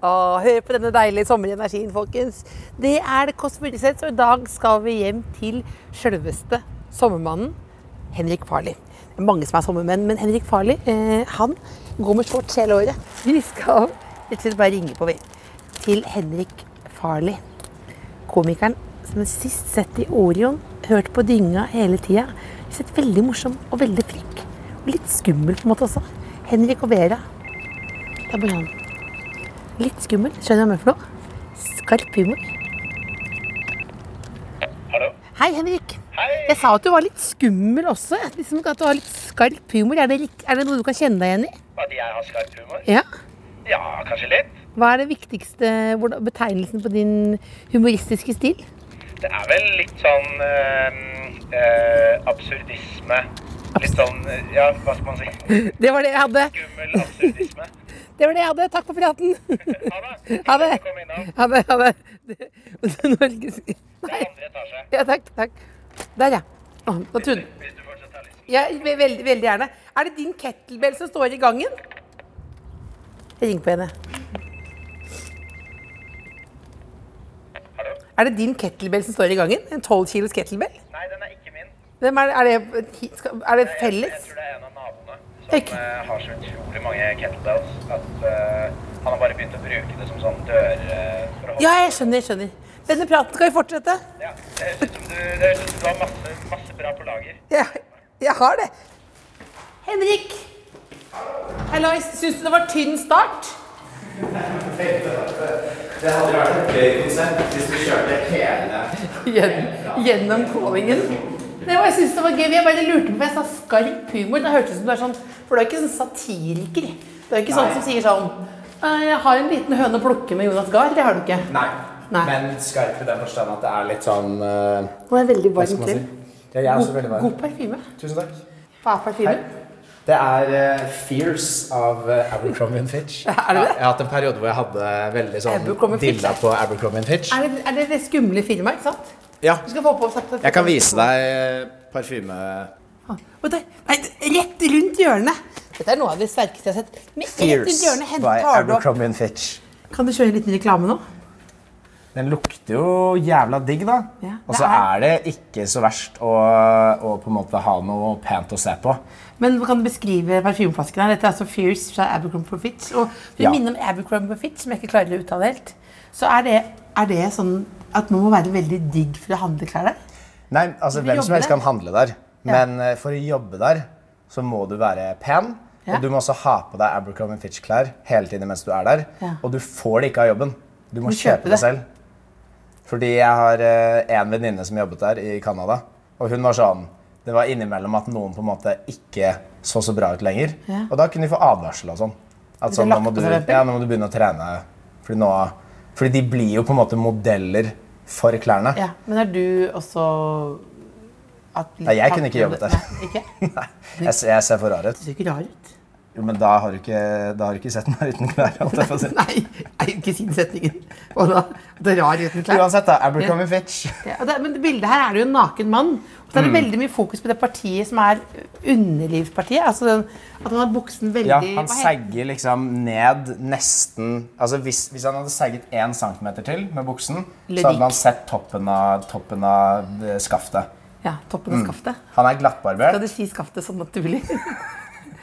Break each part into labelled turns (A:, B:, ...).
A: Å, hør på denne deilige sommerenergien, folkens. Det er det Kåss Furuseth, og i dag skal vi hjem til sjølveste sommermannen Henrik Farley. Det er mange som er sommermenn, men Henrik Farley eh, han går med shorts hele året. Vi skal rett og slett bare ringe på, vi. Til Henrik Farley. Komikeren som er sist sett i Orion. Hørte på dynga hele tida. Sett veldig morsom og veldig flink. Og litt skummel på en måte også. Henrik og Vera. Det er bare han. Litt skummel, skjønner du hva jeg mener for noe? Skarp humor.
B: Hallo?
A: Hei, Henrik.
B: Hei!
A: Jeg sa at du var litt skummel også. jeg. Liksom at du har litt skarp humor. Er det, rikt- er det noe du kan kjenne deg igjen i?
B: At jeg har skarp humor?
A: Ja.
B: Ja, kanskje litt.
A: Hva er det viktigste hvordan- betegnelsen på din humoristiske stil?
B: Det er vel litt sånn eh, eh, absurdisme. Litt sånn eh, Ja, hva skal man si?
A: Det var det jeg hadde.
B: Gummel absurdisme.
A: Det var det jeg hadde. Takk for praten.
B: Ha det.
A: Ha det.
B: Kom innom.
A: Ha det. Ha det. det. Norges...
B: Det
A: Nei.
B: er andre etasje.
A: Ja, takk. Takk. Der, ja. Å, nå trodde
B: Hvis du fortsatt har lyst.
A: Ja, ve- veldig, veldig gjerne. Er det din kettlebell som står i gangen? Ring på henne.
B: Hallo?
A: Er det din kettlebell som står i gangen? En 12 kilos kettlebell?
B: Nei, den er ikke min.
A: Hvem er, er, det, hi- skal- er det
B: Jeg- Jeg
A: felles?
B: tror det er en av naboene som
A: Ok.
B: eh, har så utrolig mange kettlebells at eh, han har bare begynt å bruke det som sånn dør... eh, for å holde-
A: Ja, jeg skjønner. jeg skjønner. Denne praten skal vi fortsette.
B: Ja. Det høres ut som du, det høres ut som du har masse, masse bra på lager.
A: Ja, jeg har det. Henrik! Hallois, syns du det var tynn start?
C: Det hadde vært et gøy konsept hvis vi kjørte hele
A: Gjenn, gjennom callingen. Det var, jeg synes det var gøy. Jeg bare lurte på om jeg sa skarp humor. Det hørtes ut som du er sånn For du er ikke sånn satiriker. Du er ikke sånn som sier sånn «Eh, Jeg har en liten høne å plukke med Jonas Gahr. Det har du ikke.
C: Nei.
A: Nei.
C: Men skarp i den forstand at det er litt sånn eh,
A: Nå er jeg veldig
C: Hva skal
A: varm
C: man si?
A: til.
C: Ja, jeg er også
A: God,
C: veldig varm.
A: god parfyme.
C: Tusen takk.
A: Hva er parfyme?
C: Det er eh, Fierce av eh, Abercrombie Fitch.
A: Er det det?
C: Ja, Jeg har hatt en periode hvor jeg hadde veldig
A: Abercrombie
C: sånn
A: Fitch,
C: dilla
A: ja.
C: på Abercrombie Fitch.
A: Er det, er det det skumle firmaet, ikke sant?
C: Ja.
A: Du skal få på sagt-
C: Jeg kan vise deg eh, parfyme
A: Ah, og der- Nei, rett rundt hjørnet. Dette er noe av det sterkeste jeg har sett. Med rett rundt hjørnet
C: Fierce by
A: hent- tar du opp.
C: Abercrombie Fitch.
A: Kan du kjøre en liten reklame nå?
C: Den lukter jo jævla digg, da.
A: Ja,
C: og så
A: det er-
C: er det ikke så verst å, å på en måte ha noe pent å se på.
A: Men hva kan du beskrive parfymeflasken her? Dette er altså Fierce fra Abercrombie Fitch. Og for
C: Ja.
A: å minne om Abercrombie Fitch, som jeg ikke klarer å uttale helt, så er det, er det sånn at man må være veldig digg for å handle klær der.
C: Nei, altså
A: Du vil
C: Hvem som
A: jobbe
C: helst
A: der?
C: kan handle der,
A: Ja.
C: men eh, for å jobbe der så må du være pen.
A: Ja.
C: Og du må også ha på deg Abercrombie Fitch-klær hele tiden mens du er der.
A: Ja.
C: Og du får det ikke av jobben. Du må
A: Du kjøper
C: kjøpe det
A: det.
C: selv. Fordi jeg har eh, en venninne som jobbet der i Canada, og hun var sånn Det var innimellom at noen på en måte ikke så så bra ut lenger.
A: Ja.
C: Og da kunne de få advarsel og sånn. At sånn, nå
A: lagt
C: må,
A: på
C: du,
A: for eksempel?
C: ja, nå må du begynne å trene. Fordi, nå, fordi de blir jo på en måte modeller for klærne.
A: Ja, Men er du også at
C: Nei, jeg kunne ikke jobbet der.
A: Nei, ikke?
C: Nei, jeg, ser- jeg ser for rar ut.
A: Du ser ikke rar ut.
C: Jo, men da har du ikke, da har du ikke sett meg uten klær. Alt jeg får si.
A: Nei, nei, ikke si den setningen. Og da, det er rar uten klær.
C: Uansett, da. Abercrombie Fitch.
A: Ja, og det, men det bildet her er det jo en naken mann. Og så er det
C: Mm.
A: veldig mye fokus på det partiet som er underlivspartiet. Altså den, at han har buksen veldig
C: Ja, han
A: hva heter-
C: sagger liksom ned nesten Altså Hvis, hvis han hadde sagget én centimeter til med buksen, så
A: Ludik.
C: hadde man sett toppen av, toppen av eh, skaftet.
A: Ja, toppen av skaftet.
C: Han er glattbarbert.
A: Skal du si skaftet sånn naturlig?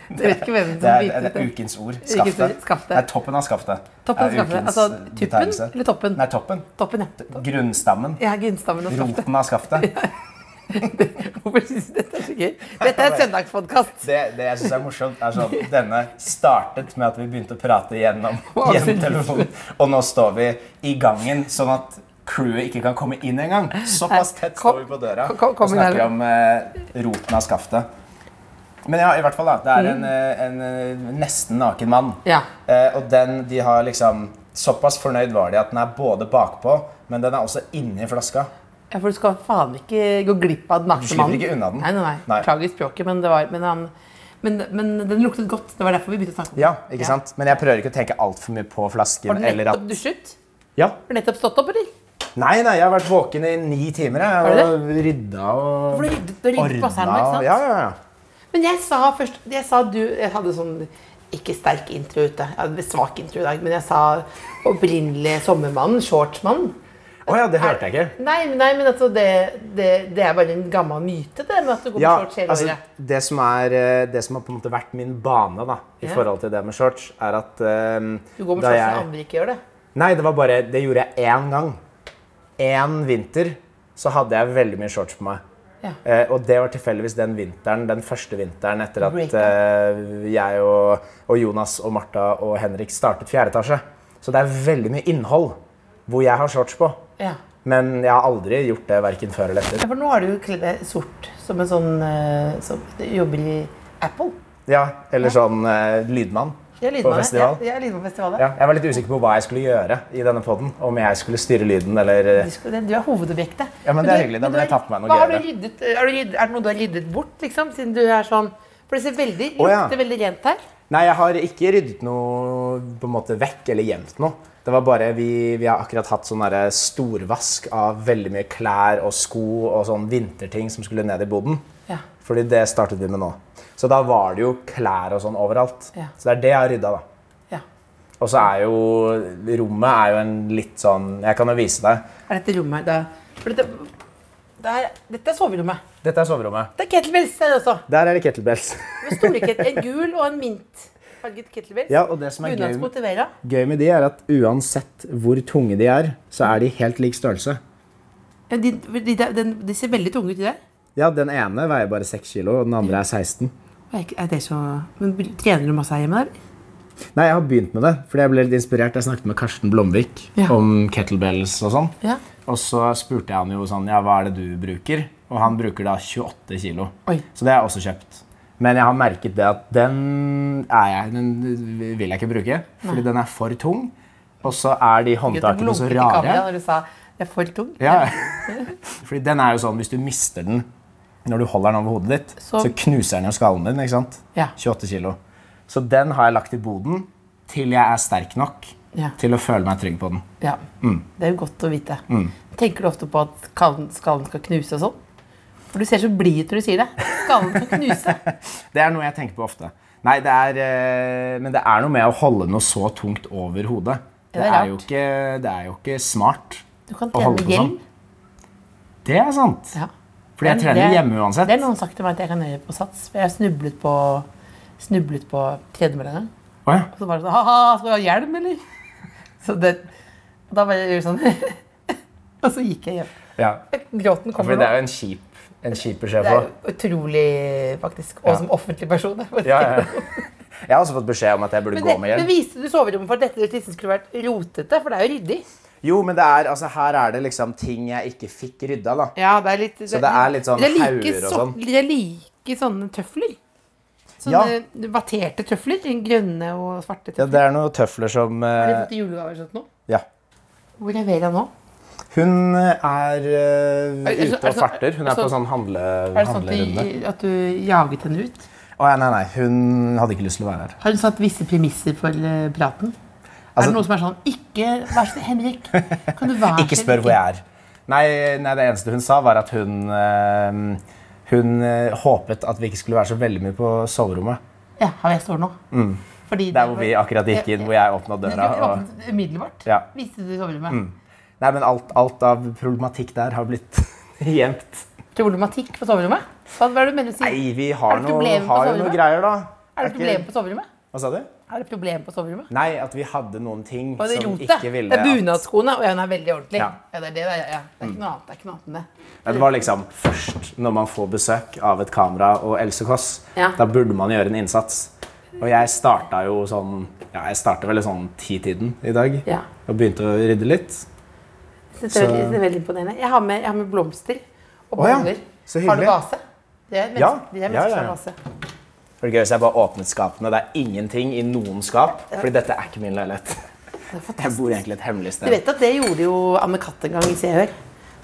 A: Du vet ikke hvem
C: Det
A: som
C: er,
A: biter
C: det
A: ut
C: er
A: det.
C: ukens ord.
A: ord,
C: Skaftet.
A: skaftet.
C: Nei, toppen av skaftet.
A: Toppen av
C: er
A: skaftet.
C: ukens,
A: Altså,
C: eh,
A: tuppen
C: betegnelse.
A: eller toppen?
C: Nei, toppen.
A: Toppen, ja.
C: Grunnstammen.
A: Ja, grunnstammen og skaftet.
C: Roten av skaftet.
A: Hvorfor synes du dette er så gøy? Dette er søndagspodkast.
C: Det, det jeg synes er morsomt, er sånn denne startet med at vi begynte å prate gjennom,
A: Wow,
C: gjennom telefonen. Og nå står vi i gangen, sånn at crewet ikke kan komme inn engang. Såpass tett
A: Kom-
C: står vi på døra
A: kom- kom
C: og
A: inn
C: snakker
A: her.
C: om eh, roten av skaftet. Men ja, i hvert fall da, det er en, eh, en eh, nesten naken mann.
A: Mm. Ja.
C: Eh, og den, de har liksom Såpass fornøyd var de at den er både bakpå, men den er også inni flaska.
A: Ja, for du skal faen ikke gå glipp av den
C: Du
A: nakne
C: slipper
A: mannen.
C: ikke unna den.
A: Nei, nei, nei.
C: Nei.
A: Beklager språket, men, det var, men, han, men, men den luktet godt. Det var derfor vi begynte å snakke om den.
C: Ja, ikke sant? Men jeg prøver ikke å tenke altfor mye på flasken.
A: Har du
C: eller
A: nettopp
C: at...
A: dusjet?
C: Ja.
A: Har du nettopp stått opp, eller?
C: Nei, nei, jeg har vært våken i ni timer.
A: Har du
C: Jeg og rydda og
A: For du ryddet, du ryddet
C: ordna.
A: plassene, ikke
C: og-
A: sant?
C: Ja, ja, ja.
A: Men jeg sa først Jeg sa du Jeg hadde sånn ikke sterk intro ute. Jeg hadde svak intro i dag, men jeg sa opprinnelig sommermann, shortsmann.
C: Å ja, det hørte jeg ikke.
A: Nei, men- nei, men altså det, det, det er bare en gammel myte, det med at du går
C: Ja,
A: med shorts hele
C: altså,
A: året.
C: det, som er, eh, det som har på en måte vært min bane da, i
A: Ja.
C: forhold til det med shorts, er at eh,
A: Du går med
C: da
A: shorts når
C: jeg-
A: andre ikke gjør det.
C: Nei, det var bare Det gjorde jeg én gang. Én vinter så hadde jeg veldig mye shorts på meg.
A: Ja.
C: Eh, og det var tilfeldigvis den vinteren, den første vinteren etter at
A: Breakup.
C: eh, jeg og, og Jonas og Martha og Henrik startet fjerde etasje. Så det er veldig mye innhold hvor jeg har shorts på.
A: Ja.
C: Men jeg har aldri gjort det verken før eller etter.
A: Ja, For nå har du jo kledd deg sort som en sånn eh, som jobber i Apple.
C: Ja, Eller sånn eh, lydmann
A: Jeg er
C: på festival.
A: Ja, jeg er Lydmannfestivalet.
C: Ja, jeg var litt usikker på hva jeg skulle gjøre i denne podden, Om jeg skulle styre lyden eller
A: Du, skal, det- du er hovedobjektet.
C: Ja, men det er hyggelig. Da
A: men du
C: burde jeg
A: har-
C: tatt på meg noe
A: hva har du
C: gøyere.
A: ryddet, har du ryddet, er det noe du har ryddet bort, liksom? Siden du er sånn For det ser veldig,
C: Å, ja.
A: lukter veldig rent her.
C: Nei, jeg har ikke ryddet noe på en måte vekk eller gjemt noe. Det var bare vi, vi har akkurat hatt sånn derre storvask av veldig mye klær og sko og sånn vinterting som skulle ned i boden.
A: Ja.
C: Fordi det startet vi med nå. Så da var det jo klær og sånn overalt.
A: Ja.
C: Så det er det jeg har rydda, da.
A: ja.
C: Og så er jo rommet er jo en litt sånn Jeg kan jo vise deg.
A: Er dette rommet her da? For dette, det er, dette er soverommet.
C: Dette er soverommet.
A: Det er kettlebells der også.
C: Der er det kettlebells.
A: Med store ket- en gul og en mintfarget kettlebell.
C: Ja, og det som er gøy-
A: Bunadssko til Vera.
C: Gøy med de er at uansett hvor tunge de er, så er de helt lik størrelse.
A: Ja, de, de, de, den- de ser veldig tunge ut, de der.
C: Ja, den ene veier bare 6 kilo, og den andre er 16.
A: Er ikke- er det så, men br- trener du masse her hjemme? der?
C: Nei, jeg har begynt med det, fordi jeg ble litt inspirert. Jeg snakket med Karsten Blomvik
A: Ja.
C: om kettlebells og sånn.
A: Ja.
C: Og så spurte jeg han jo sånn, ja, hva er det du bruker? Og han bruker da 28 kilo.
A: Oi.
C: Så det har jeg også kjøpt. Men jeg har merket det at den, er jeg, den vil jeg ikke bruke, fordi den er for tung. Og så er de håndtakene så
A: Blunket i
C: rare.
A: kameraet når du sa jeg er for tung.
C: Ja. Fordi den er jo sånn, hvis du mister den når du holder den over hodet ditt, så,
A: Så-
C: knuser den jo skallen din, ikke sant?
A: Ja.
C: 28 kilo. Så den har jeg lagt i boden til jeg er sterk nok
A: Ja.
C: til å føle meg trygg på den.
A: Ja.
C: Mm.
A: Det er jo godt å vite. Tenker du ofte på at skallen, skallen skal knuse og sånn? For du ser så blid ut når du sier det. Skallen skal knuse.
C: Det er noe jeg tenker på ofte. Nei, det er, eh, men det er noe med å holde noe så tungt over hodet.
A: Ja,
C: Det
A: det er
C: er jo
A: rart.
C: ikke, det er jo ikke smart.
A: Du kan
C: Å holde
A: trene
C: på sånn.
A: gjeld.
C: Det er sant.
A: Ja.
C: Fordi jeg
A: Men
C: trener
A: det-
C: hjemme uansett.
A: Det har noen sagt til meg at jeg kan gjøre på sats. For jeg snublet på, snublet på tredemølla en gang.
C: Å ja.
A: Og så var det sånn Ha-ha, skal du ha hjelm, eller? Så det, og da var jeg sånn Og så gikk jeg hjem.
C: ja.
A: Gråten kommer
C: Fordi det
A: nå.
C: er jo en kjip, en kjip beskjed
A: Det
C: å få.
A: er jo utrolig, faktisk. Og
C: Ja.
A: som offentlig person. jeg bare
C: Ja,
A: tenker
C: ja. Jeg har også fått beskjed om at jeg burde
A: Men,
C: gå
A: det,
C: med hjelm.
A: men viste du soverommet for at dette liksom skulle vært rotete? For det er jo ryddig.
C: Jo, men det er, altså, her er det liksom ting jeg ikke fikk rydda, da.
A: Ja, det er litt,
C: Så det er litt sånn
A: det er like
C: hauger og
A: så-
C: sånn.
A: Det er like sånne tøfler. Sånne vatterte tøfler. Grønne og svarte
C: Ja,
A: tøfler.
C: det er noen tøfler som
A: Har
C: eh,
A: du fått i julegave eller sånt nå?
C: Ja.
A: Hvor er Vera nå?
C: Hun er eh,
A: Er det så-
C: ute
A: er det
C: og
A: så-
C: farter. Hun
A: er
C: er
A: det
C: på
A: så-
C: sånn handle,
A: altså, Er det sånn at
C: handlerunde.
A: du, at du jaget henne ut?
C: Å ja, nei, nei. Hun hadde ikke lyst til å være her.
A: Har hun satt visse premisser for eh, praten? er
C: Altså-
A: det noe som er sånn Ikke Vær så snill, Henrik. Kan du være
C: Ikke spør hvor jeg er. Nei, nei, det eneste hun sa, var at hun eh, Hun eh, håpet at vi ikke skulle være så veldig mye på soverommet.
A: Ja, her jeg står nå. Fordi
C: Mm. Der hvor vi akkurat gikk inn, hvor jeg åpna
A: Du
C: døra. Og...
A: åpnet umiddelbart.
C: Ja. Mm.
A: Viste du soverommet.
C: Nei, men alt, alt av problematikk der har blitt gjemt.
A: Problematikk på soverommet? Hva hva er det du mener å si?
C: Nei, vi
A: Er
C: har,
A: det
C: noe,
A: problemer på
C: har jo noe
A: soverommet?
C: greier, da.
A: Er det
C: ikke-
A: problem på soverommet?
C: Hva sa du?
A: Er det problem på soverommet?
C: Nei, at vi hadde noen ting
A: Og det
C: som
A: rotet.
C: ikke ville
A: det er
C: at-
A: bunadsskoene, og ja, den er veldig ordentlig.
C: Ja. Mm.
A: Ja. det er det. Det er, ja. det er ikke noe annet det er ikke noe annet enn det.
C: Nei, Det var liksom først når man får besøk av et kamera og Else Kåss.
A: Ja.
C: Da burde man gjøre en innsats. Og jeg starta jo sånn Ja, jeg starta vel sånn ti-tiden i dag.
A: Ja.
C: Og begynte å rydde litt.
A: Jeg synes det er veldig, jeg
C: Så-
A: synes det er veldig imponerende. Jeg har med, jeg har med blomster og
C: Å ja,
A: boller.
C: så
A: har du
C: hyggelig.
A: vase? Det er mennesker,
C: Ja,
A: de er
C: ja,
A: mennesker som
C: ja, ja.
A: har vase.
C: For det gøy hvis jeg bare åpnet skapene. Det er ingenting i noen skap. Fordi dette er ikke min leilighet. Jeg bor egentlig et hemmelig
A: Du
C: sted.
A: vet at det gjorde jo Anne Katt en gang i Se og Hør.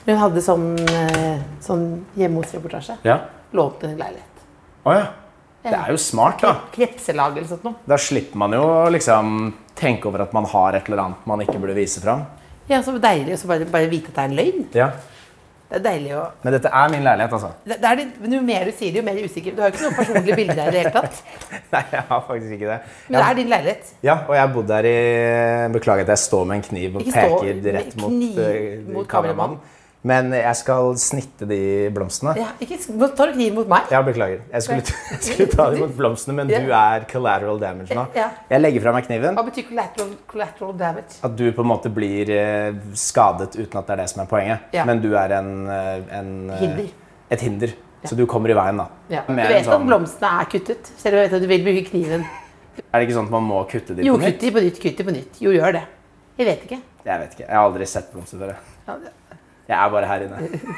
A: Hun hadde sånn, eh, sånn hjemme hos-reportasje.
C: Ja.
A: Lånte en leilighet.
C: Å ja. Det er jo smart, da.
A: Krepselag eller sånt noe.
C: Da slipper man jo å liksom tenke over at man har et eller annet man ikke burde vise fram.
A: Ja, så deilig å så bare, bare vite at det er en løgn.
C: Ja.
A: Det er deilig å
C: Men dette er min leilighet, altså.
A: det, det er litt, men Jo mer du sier det, jo mer usikker. Du har jo ikke noe personlig bilde der i det hele tatt.
C: Nei, jeg har faktisk ikke det.
A: Men det er din leilighet.
C: Ja, og jeg bodde her i Beklager at jeg står med en kniv og
A: Ikke stå
C: peker
A: med
C: rett mot,
A: kniv
C: eh,
A: mot
C: kameramannen. Men jeg skal snitte de blomstene.
A: Ja, ikke, nå tar du kniven mot meg?
C: Ja, beklager. Jeg skulle, jeg skulle ta de mot blomstene, men du er collateral damage nå.
A: Ja.
C: Jeg legger fra meg kniven.
A: Hva betyr collateral, collateral damage?
C: At du på en måte blir eh, skadet uten at det er det som er poenget.
A: Ja.
C: Men du er en, eh, en eh,
A: Hinder.
C: Et hinder. Så du kommer i veien, da.
A: Ja. Du
C: Mer
A: vet
C: enn sånn-
A: at blomstene er kuttet, selv om jeg vet at du vil bruke kniven.
C: Er det ikke sånn at man må kutte de
A: Jo,
C: på
A: kutt
C: nytt?
A: de på nytt, kutt de på nytt. Jo, gjør det. Jeg vet ikke.
C: Jeg vet ikke. Jeg har aldri sett blomster før. jeg.
A: Ja, det-
C: Jeg er bare her inne.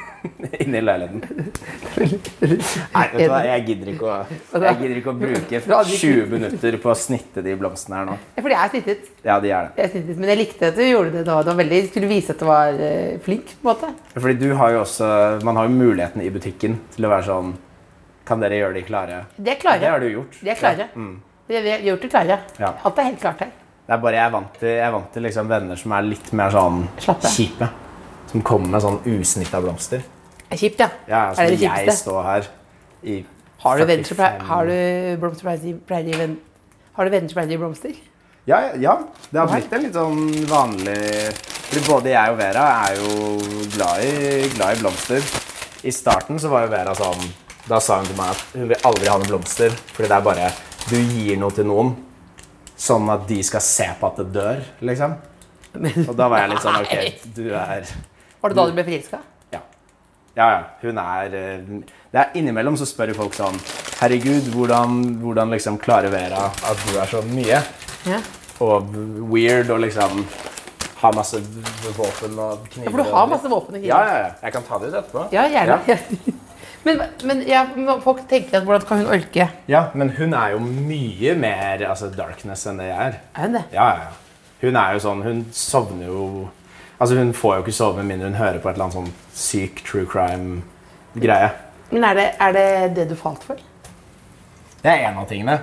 C: inne i leiligheten. Nei, vet du hva? Jeg gidder ikke å, jeg gidder ikke å bruke 20 minutter på å snitte de blomstene her nå.
A: Fordi jeg er snittet.
C: Ja, de er det.
A: Jeg er snittet, men jeg likte at du gjorde det da. Det var veldig, skulle vise at du var eh, flink, på en måte.
C: Fordi du har jo også Man har jo muligheten i butikken til å være sånn Kan dere gjøre de klare?
A: De er klare.
C: Det har du gjort.
A: De er klare. Vi vi har gjort det klare.
C: Ja.
A: Alt er helt klart her.
C: Det er bare jeg er vant til, jeg er vant til liksom venner som er litt mer sånn
A: Slappe.
C: kjipe. Som kommer med sånn usnitta blomster.
A: Det er kjipt, ja.
C: Ja, altså,
A: er det det
C: jeg
A: kjipeste?
C: står her i
A: Har du venner som
C: 45
A: pleier- har du blomster som pleier å gi- pleier å gi venn- har du venner som pleier å gi blomster?
C: Ja, ja. Det har blitt en litt sånn vanlig Fordi både jeg og Vera er jo glad i, glad i blomster. I starten så var jo Vera sånn Da sa hun til meg at hun vil aldri ha noen blomster. Fordi det er bare Du gir noe til noen sånn at de skal se på at det dør, liksom. Og da var jeg litt sånn OK, du er
A: Var det da
C: Mm.
A: du ble forelska?
C: Ja. ja, ja. Hun er eh, det er Innimellom så spør jo folk sånn Herregud, hvordan, hvordan liksom klarer Vera at du er så mye
A: Ja.
C: og weird og liksom har masse v- v- våpen og kniver?
A: Ja, for du har masse våpen og
C: Ja,
A: kniver.
C: ja, ja. Jeg kan ta det ut etterpå.
A: Ja, gjerne. Men, men ja, men folk tenker at hvordan kan hun orke?
C: Ja, men hun er jo mye mer altså, darkness enn det jeg er.
A: Er hun det?
C: Ja, ja, ja. Hun er jo sånn Hun sovner jo Altså, hun får jo ikke sove med mindre hun hører på et eller annet sånn syk true crime-greie.
A: Men er det, er det det du falt for?
C: Det er en av tingene.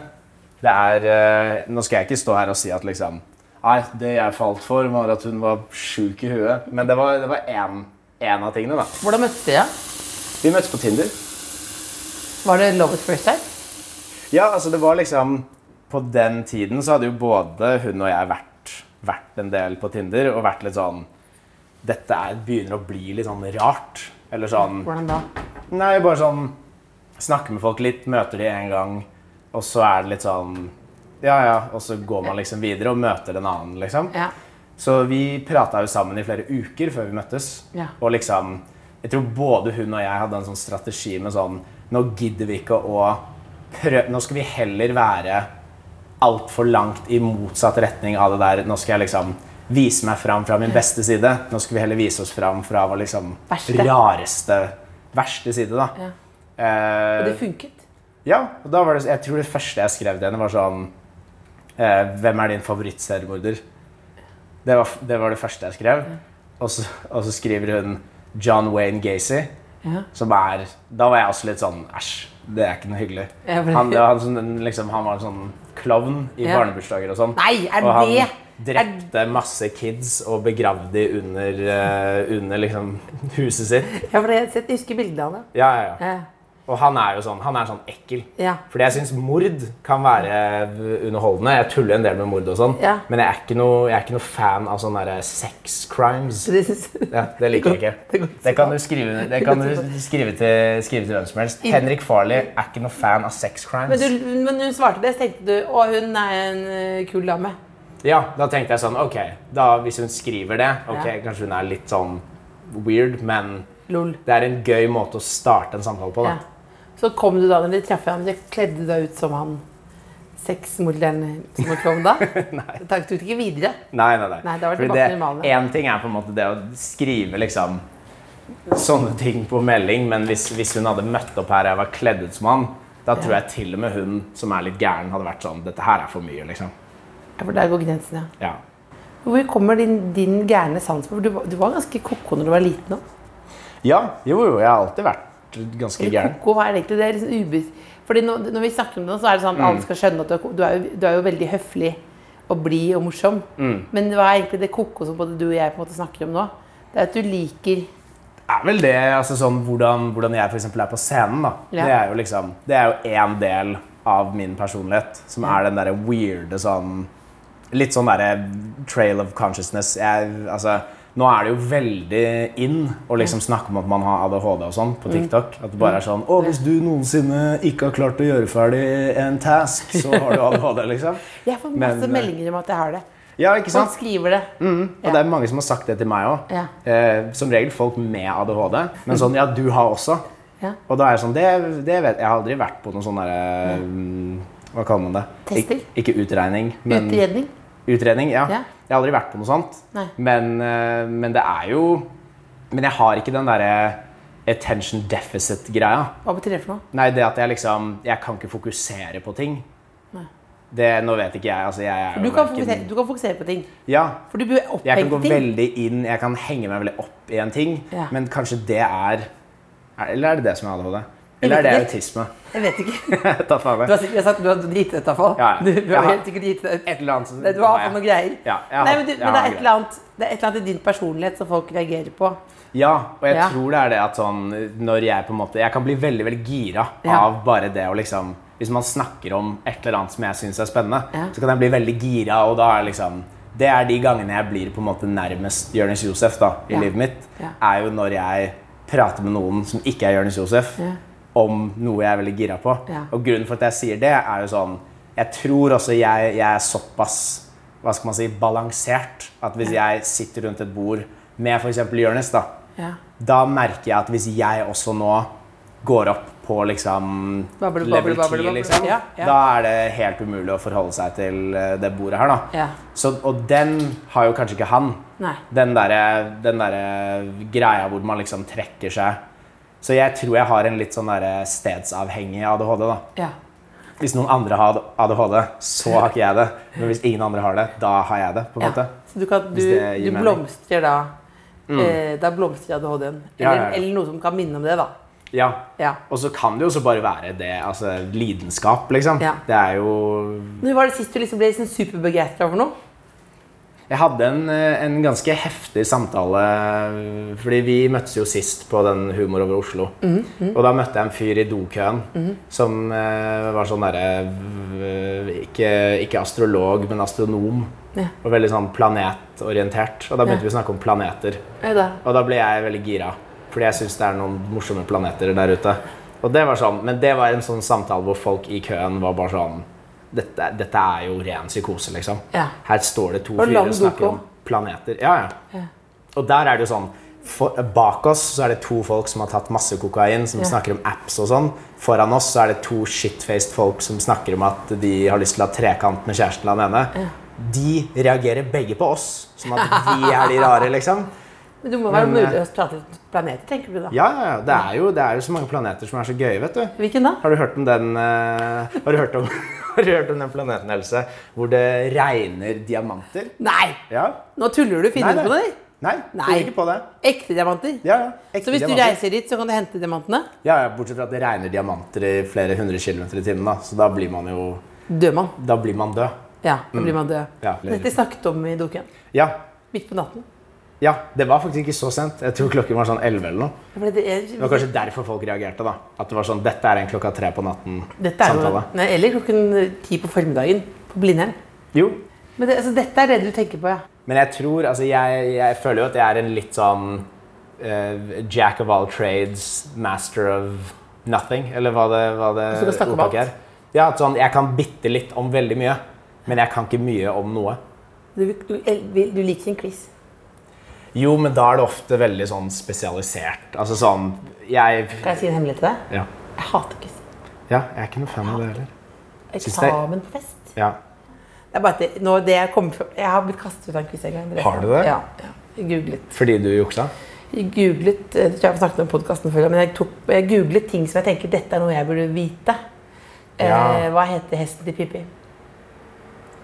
C: Det er, eh, nå skal jeg ikke stå her og si at liksom, nei, det jeg falt for var at hun var syk i huet. Men det var, det var en, en av tingene da.
A: Hvordan møtte dere?
C: Vi møttes på Tinder.
A: Var det love at first sight?
C: Ja, altså det var liksom, på den tiden så hadde jo både hun og jeg vært, vært en del på Tinder, og vært litt sånn, dette er, begynner å bli litt sånn rart. Eller sånn,
A: Hvordan da?
C: Nei, bare sånn Snakke med folk litt, møter de en gang, og så er det litt sånn Ja, ja, og så går man liksom videre og møter en annen, liksom.
A: Ja.
C: Så vi prata jo sammen i flere uker før vi møttes.
A: Ja.
C: Og liksom Jeg tror både hun og jeg hadde en sånn strategi med sånn Nå gidder vi ikke å prøve Nå skal vi heller være altfor langt i motsatt retning av det der Nå skal jeg liksom vise meg fram fra min beste side. Nå skal vi heller vise oss fram fra vår liksom
A: Verste.
C: rareste, verste side, da.
A: Ja.
C: Eh,
A: Det funket.
C: ja, og da var det, jeg tror det første jeg skrev til henne var sånn eh, Hvem er din favorittseriemorder? Det var, det var det første jeg skrev. Og så, og så skriver hun John Wayne Gacy.
A: Ja.
C: Som er Da var jeg også litt sånn Æsj, det er ikke noe hyggelig.
A: Ja, for-
C: Han, det var han, som- liksom, han var en sånn klovn i
A: Ja.
C: barnebursdager og sånn.
A: Nei, er
C: og han
A: det-
C: drepte masse kids og begravde de under, eh, under liksom, huset sitt.
A: Ja, for jeg, har sett- jeg husker bildene av det.
C: Ja, ja, ja.
A: Ja.
C: Og han er jo sånn, han er sånn ekkel.
A: Ja.
C: Fordi jeg syns mord kan være underholdende. Jeg tuller en del med mord og sånn,
A: Ja.
C: men jeg er ikke noe, jeg er ikke noe fan av sånne der sex crimes.
A: Så det synes-
C: Ja, det liker jeg
A: Det
C: ikke.
A: går-
C: Det kan du skrive, det kan du skrive, til, skrive til hvem som helst. Henrik Farley er ikke noe fan av sex
A: Men,
C: crimes.
A: du, men hun svarte det, så tenkte du å, hun er en eh, kul dame.
C: Ja, Da tenkte jeg sånn Ok, da, hvis hun skriver det, ok,
A: Ja.
C: kanskje hun er litt sånn weird, men
A: Lol.
C: det er en gøy måte å starte en samtale på. da.
A: Ja. Så kom du da når dere traff ham, så kledde du deg ut som han sexmorderen som var klovn da? Nei. Det tok du ikke videre.
C: Nei, nei, nei.
A: Nei, da var det
C: Fordi
A: tilbake til normalen, ja.
C: En ting er på en måte det å skrive liksom sånne ting på melding, men hvis, hvis hun hadde møtt opp her og jeg var kledd ut som han, da tror jeg til og med hun som er litt gæren, hadde vært sånn Dette her er for mye, liksom.
A: Ja, for der går grensen, ja.
C: Ja.
A: Hvor kommer din, din gærne sans på? For Du, var- du var ganske koko når du var liten òg.
C: Ja, jo, jo, jeg har alltid vært ganske gæren.
A: Koko, hva er det egentlig? Det er liksom ube... Fordi når, når vi snakker om det, så er det sånn
C: Mm.
A: at alle skal skjønne at du er, ko- du er, jo, du er jo veldig høflig og blid og morsom.
C: Mm.
A: Men hva er egentlig det koko som både du og jeg på en måte snakker om nå? Det er at du liker
C: Det er vel det altså sånn hvordan, hvordan jeg for eksempel er på scenen. da.
A: Ja.
C: Det er jo liksom, det er jo én del av min personlighet som er den derre weirde sånn Litt sånn derre trail of consciousness. Jeg, altså, nå er det jo veldig in å liksom snakke om at man har ADHD og sånn
A: Mm.
C: på TikTok. At det bare er sånn Å, hvis du noensinne ikke har klart å gjøre ferdig en task, så har du ADHD, liksom.
A: Jeg får
C: Men,
A: masse
C: eh,
A: meldinger om at jeg har det.
C: Ja, ikke
A: Folk
C: sant? Mm.
A: skriver det.
C: Og det er mange som har sagt det til meg òg.
A: Ja.
C: Eh, som regel folk med ADHD. Men sånn Ja, du har også.
A: Ja.
C: Og da er jeg sånn det, det vet Jeg har aldri vært på noen sånn derre mm, Hva kaller man det?
A: Tester?
C: Ik ikke utregning, men
A: Utredning.
C: Utredning, ja.
A: Ja.
C: Jeg har aldri vært på noe sånt.
A: Nei.
C: Men, eh, men det er jo Men jeg har ikke den derre attention deficit-greia.
A: Hva betyr det for noe?
C: Nei, det at jeg liksom Jeg kan ikke fokusere på ting. Det, nå vet ikke jeg. Altså, jeg er
A: Du
C: jo
A: kan,
C: hverken-
A: fokusere, du kan fokusere på ting.
C: Ja,
A: For du blir
C: jeg kan gå
A: opphengt i ting.
C: veldig inn, jeg kan henge meg veldig opp i en ting,
A: Ja.
C: men kanskje det er er- Eller er det det som er ADHD?
A: vet
C: Eller er det
A: ikke.
C: autisme?
A: Jeg vet ikke.
C: Ta faen
A: Du
C: meg.
A: har sikkert sagt du har driti deg ut, iallfall.
C: Ja, ja.
A: Du, du
C: Jeg
A: har
C: har-
A: helt sikkert gitt deg
C: Et eller annet som
A: Nei, Du har fått noen greier.
C: Ja, jeg har-
A: Nei, men, du,
C: jeg
A: men det,
C: har
A: er et eller annet, det er et eller annet i din personlighet som folk reagerer på.
C: Ja, og jeg
A: Ja.
C: tror det er det at sånn Når jeg på en måte Jeg kan bli veldig, veldig gira
A: Ja.
C: av bare det å liksom Hvis man snakker om et eller annet som jeg syns er spennende,
A: Ja.
C: så kan jeg bli veldig gira, og da er liksom Det er de gangene jeg blir på en måte nærmest Jonis Josef da, i
A: Ja.
C: livet mitt,
A: Ja.
C: er jo når jeg prater med noen som ikke er Jonis Josef,
A: Ja.
C: om noe jeg er veldig gira på.
A: Ja.
C: Og grunnen for at jeg sier det, er jo sånn Jeg tror også jeg, jeg er såpass hva skal man si, balansert at hvis jeg sitter rundt et bord med f.eks. Jonis, da,
A: Ja.
C: da merker jeg at hvis jeg også nå går opp på liksom
A: Bable, bable,
C: level
A: bable,
C: 10,
A: bable.
C: liksom,
A: Ja, ja.
C: da er det helt umulig å forholde seg til eh, det bordet her, da.
A: Ja.
C: Så, og den har jo kanskje ikke han.
A: Nei.
C: Den derre den derre greia hvor man liksom trekker seg. Så jeg tror jeg har en litt sånn derre stedsavhengig ADHD, da.
A: Ja.
C: Hvis noen andre har ADHD, så har ikke jeg det. Men hvis ingen andre har det, da har jeg det, på en
A: ja.
C: måte.
A: Så du, kan, du,
C: Hvis det gir
A: du
C: mening. Mm.
A: blomstrer da. Eh, da blomstrer ADHD-en. Eller,
C: Ja, ja, ja.
A: eller noe som kan minne om det, da.
C: Ja.
A: Ja.
C: Og så kan det jo også bare være det, altså lidenskap, liksom.
A: Ja.
C: Det er jo
A: Når var det sist du liksom ble liksom superbegeistra over noe?
C: Jeg hadde en, eh, en ganske heftig samtale, fordi vi møttes jo sist på den Humor over Oslo.
A: Mhm,
C: Og da møtte jeg en fyr i dokøen som eh, var sånn derre v- ikke, ikke astrolog, men astronom.
A: Ja.
C: Og veldig sånn planetorientert. Og da
A: Ja.
C: begynte vi å snakke om planeter.
A: Ja, da.
C: Og da ble jeg veldig gira, fordi jeg syns det er noen morsomme planeter der ute. Og det var sånn, Men det var en sånn samtale hvor folk i køen var bare sånn Dette, dette er jo ren psykose, liksom.
A: Ja.
C: Her står det to
A: Og
C: fyrer
A: lang
C: og snakker
A: doku.
C: om planeter. Ja, ja. Og der er det jo sånn for, Bak oss så er det to folk som har tatt masse kokain, som snakker om apps og sånn. Foran oss så er det to shitfaced folk som snakker om at de har lyst til å ha trekant med kjæresten til han ene. De reagerer begge på oss, som at vi er de rare, liksom.
A: Men det må være
C: Men, eh,
A: mulig å prate litt planeter, tenker du da.
C: Ja, ja, ja. Det er, jo, det er jo så mange planeter som er så gøye, vet du.
A: Hvilken da?
C: Har du hørt om den, eh, har du hørt om, har du hørt om den planeten, Else, hvor det regner diamanter?
A: Nei!
C: Ja.
A: Nå tuller du. Finner du på det?
C: Nei,
A: Nei.
C: tror ikke på det.
A: Ekte diamanter?
C: Ja, ja. Ekte
A: så hvis du
C: diamanter.
A: reiser dit, så kan du hente diamantene?
C: Ja, ja, bortsett fra at det regner diamanter i flere hundre kilometer i timen, da. Så da blir man jo,
A: Dør man.
C: da blir man død.
A: Ja, da blir man død.
C: Mm. Ja.
A: Dette snakket om i doken.
C: Ja,
A: Midt på natten.
C: ja, det var faktisk ikke så sent. Jeg tror klokken var sånn 11 eller noe.
A: Ja, for Det er,
C: Det var kanskje derfor folk reagerte da. At det var sånn, dette er en klokka tre på natten
A: dette er jo,
C: samtale.
A: nei, eller klokken ti på formiddagen på Blindern.
C: Jo,
A: Men det, altså, dette er det du tenker på, ja.
C: Men jeg tror, altså jeg, jeg føler jo at jeg er en litt sånn eh, jack of all trades, master of nothing, eller hva det, hva det
A: Så du Altså, snakker om
C: ordtaket
A: alt?
C: er. Ja, at sånn, jeg kan bitte litt om veldig mye, men jeg kan ikke mye om noe.
A: Du, du, el- vil- du liker en quiz.
C: Jo, men da er det ofte veldig sånn spesialisert. Altså sånn, jeg...
A: Kan jeg si en hemmelighet til deg?
C: Ja,
A: Jeg hater quiz.
C: ja jeg er ikke noe fan av det heller. Syns det-
A: Eksamen på fest.
C: Ja.
A: Det er bare at det, nå, det jeg, kommer fra, jeg har blitt kastet ut av en quiz en gang. er
C: Har du
A: sant.
C: det?
A: Ja. ja. Jeg googlet.
C: Fordi du juksa?
A: Jeg googlet, eh, det tror jeg jeg har snakket om i podcasten før, men jeg, tok, jeg googlet ting som jeg tenker dette er noe jeg burde vite.
C: Ja.
A: Eh, hva heter hesten til Pippi?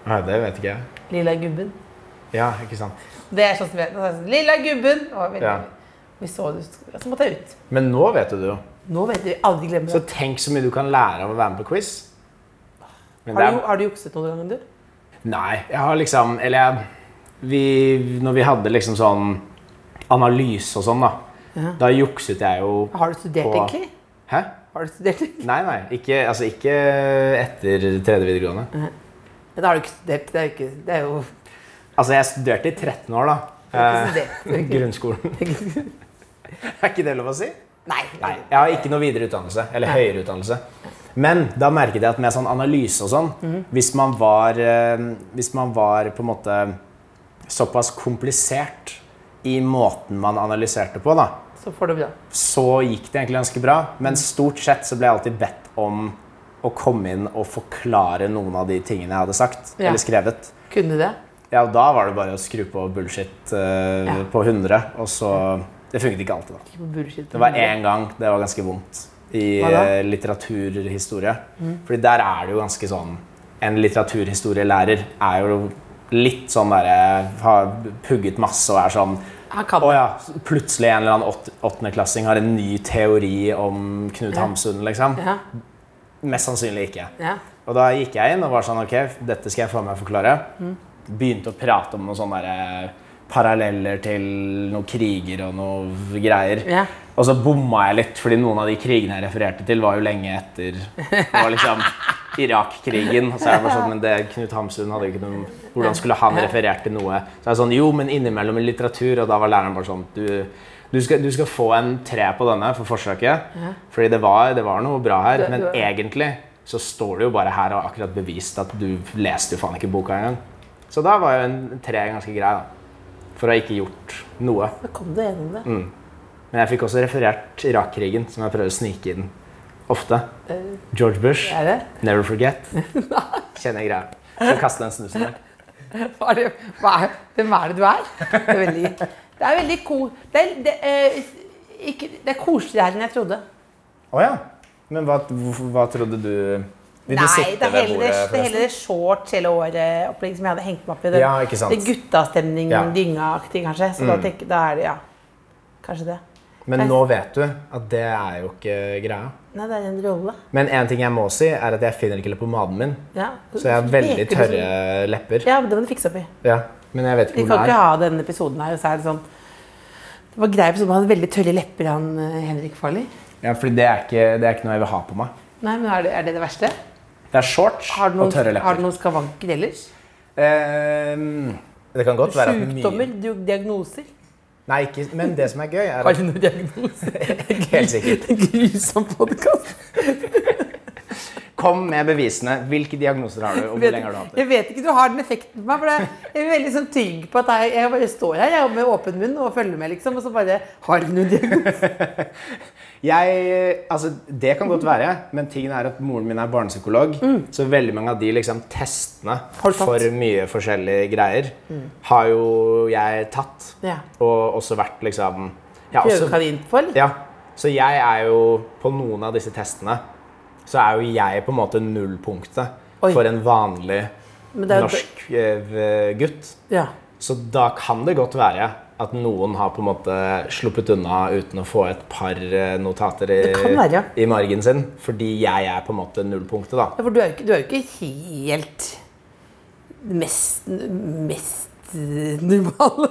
C: Nei, det vet ikke jeg.
A: Lilla gubben.
C: Ja, ikke sant.
A: Det er sånn som jeg, sånn, Lilla gubben! Og veldig,
C: Ja.
A: Vi så det, så måtte jeg ut.
C: Men nå vet du det jo.
A: Nå vet vi aldri glemme
C: Så
A: det.
C: tenk så mye du kan lære av å være med på quiz. Men det
A: Har du,
C: er-
A: har du jukset noen ganger, du?
C: Nei, jeg har liksom Eller jeg, vi, når vi hadde liksom sånn analyse og sånn, da, da jukset jeg jo
A: Har du studert,
C: på-
A: egentlig?
C: Hæ?
A: Har du studert? Men
C: Nei, nei. Ikke, altså, ikke etter tredje videregående.
A: da har du ikke studert. Det er jo ikke, sånn det er jo
C: Altså, jeg studerte i 13 år, da. eh,
A: ikke studert.
C: Grunnskolen. er ikke det lov å si?
A: Nei.
C: Nei, jeg har ikke noe videre utdannelse, eller høyere utdannelse. Men da merket jeg at med sånn analyse og sånn,
A: Mhm.
C: hvis man var, eh, hvis man var på en måte såpass komplisert i måten man analyserte på, da,
A: Så får du bra.
C: så gikk det egentlig ganske bra.
A: Mhm.
C: Men stort sett så ble jeg alltid bedt om å komme inn og forklare noen av de tingene jeg hadde sagt
A: Ja.
C: eller skrevet.
A: Kunne du det?
C: Ja, og da var det bare å skru på bullshit eh,
A: Ja.
C: på 100, og så Det funket ikke alltid, da.
A: Ikke på bullshit.
C: Det var én gang det var ganske vondt i
A: Hva da? Mm.
C: eh, litteraturhistorie. Fordi der er det jo ganske sånn En litteraturhistorielærer er jo litt sånn derre Har pugget masse og er sånn
A: Han kan
C: Å ja, plutselig en eller annen ått- åttendeklassing har en ny teori om Knut Hamsun, liksom.
A: Ja.
C: Mest sannsynlig ikke.
A: ja.
C: Og da gikk jeg inn og var sånn Ok, dette skal jeg faen meg forklare. Begynte å prate om noen sånne der, eh, paralleller til noen kriger og noe greier.
A: Ja.
C: Og så bomma jeg litt, fordi noen av de krigene jeg refererte til, var jo lenge etter Det var liksom Irak-krigen. Så jeg var sånn, men det Knut Hamsun hadde jo ikke noe Hvordan skulle han referert til noe? Så jeg er sånn, jo, men innimellom i litteratur. Og da var læreren bare sånn Du, du, skal, du skal få en tre på denne for forsøket. Fordi det var, det var noe bra her.
A: Det-
C: Men
A: det var-
C: egentlig så står du jo bare her og har akkurat bevist at du leste jo faen ikke boka engang. Så da var jo en tre ganske grei, da. For å ha ikke gjort noe.
A: Da kom du gjennom det.
C: Mm. Men jeg fikk også referert Irak-krigen, som jeg prøver å snike inn ofte.
A: Eh.
C: George Bush,
A: Er det?
C: Never Forget. Kjenner jeg greia. Skal kaste den snusen der.
A: Hva er det? Hva er, hvem er det du er? Det er veldig, det er veldig ko... Det er, det, er, ikke, det er koseligere enn jeg trodde.
C: Å ja. Men hva, hvorfor- hva trodde du Vil du
A: Nei, det
C: sitte
A: er
C: ved
A: heller det, det,
C: bordet,
A: er
C: forresten?
A: heller det shorts hele året-opplegg som jeg hadde hengt meg opp i. Det,
C: Ja, ikke sant.
A: det guttastemning,
C: Ja. Mm.
A: dynga-aktig, kanskje. Så da, tenk, da er det Ja, kanskje det.
C: Men nå vet du at det er jo ikke greia.
A: Nei, det er en rolle.
C: Men en ting jeg må si, er at jeg finner ikke leppepomaden min.
A: Ja.
C: Så jeg har veldig
A: Leker du som-
C: tørre lepper.
A: Ja, det må du fikse opp i.
C: Ja, Men jeg vet
A: Vi
C: ikke
A: kan
C: hvor
A: ikke
C: den er.
A: ha denne episoden her, og så er det sånn Det var grei episode, men han hadde veldig tørre lepper, han eh, Henrik Farley.
C: Ja, fordi det er, ikke, det er ikke noe jeg vil ha på meg.
A: Nei, men er det er det, det verste?
C: Det er shorts
A: Har du noen,
C: og tørre
A: har du
C: lepper.
A: noen skavanker ellers?
C: Ehm, det kan godt være at mye-
A: Sjukdommer? du- Diagnoser?
C: Nei, ikke, men det som er gøy, er
A: Har
C: at
A: du noen diagnoser?
C: Helt sikkert.
A: Grusom podkast.
C: Kom med bevisene. Hvilke diagnoser har du, og hvor
A: Vet-
C: lenge har du hatt det?
A: Jeg vet ikke, du har den effekten på meg. for det- Jeg er veldig sånn trygg på at jeg, jeg bare står her jeg, med åpen munn og følger med, liksom. Og så bare har du noen diagnose?
C: Jeg, altså, det kan godt være, men tingen er at moren min er barnepsykolog. Så veldig mange av de liksom, testene
A: Mm. Har du tatt? Mm.
C: for mye forskjellige greier har jo jeg tatt.
A: Ja.
C: Og også vært liksom ja, også,
A: Prøvekanin på, eller?
C: ja. Så jeg er jo på noen av disse testene så er jo jeg på en måte nullpunktet
A: Oi.
C: for en vanlig
A: Men det er jo-
C: norsk eh, gutt.
A: Ja.
C: Så da kan det godt være at noen har på en måte sluppet unna uten å få et par eh, notater i,
A: Det kan være, ja.
C: i margen sin. Fordi jeg er på en måte nullpunktet, da.
A: ja. For du er jo ikke, du er jo ikke helt mest, mest eh, normal.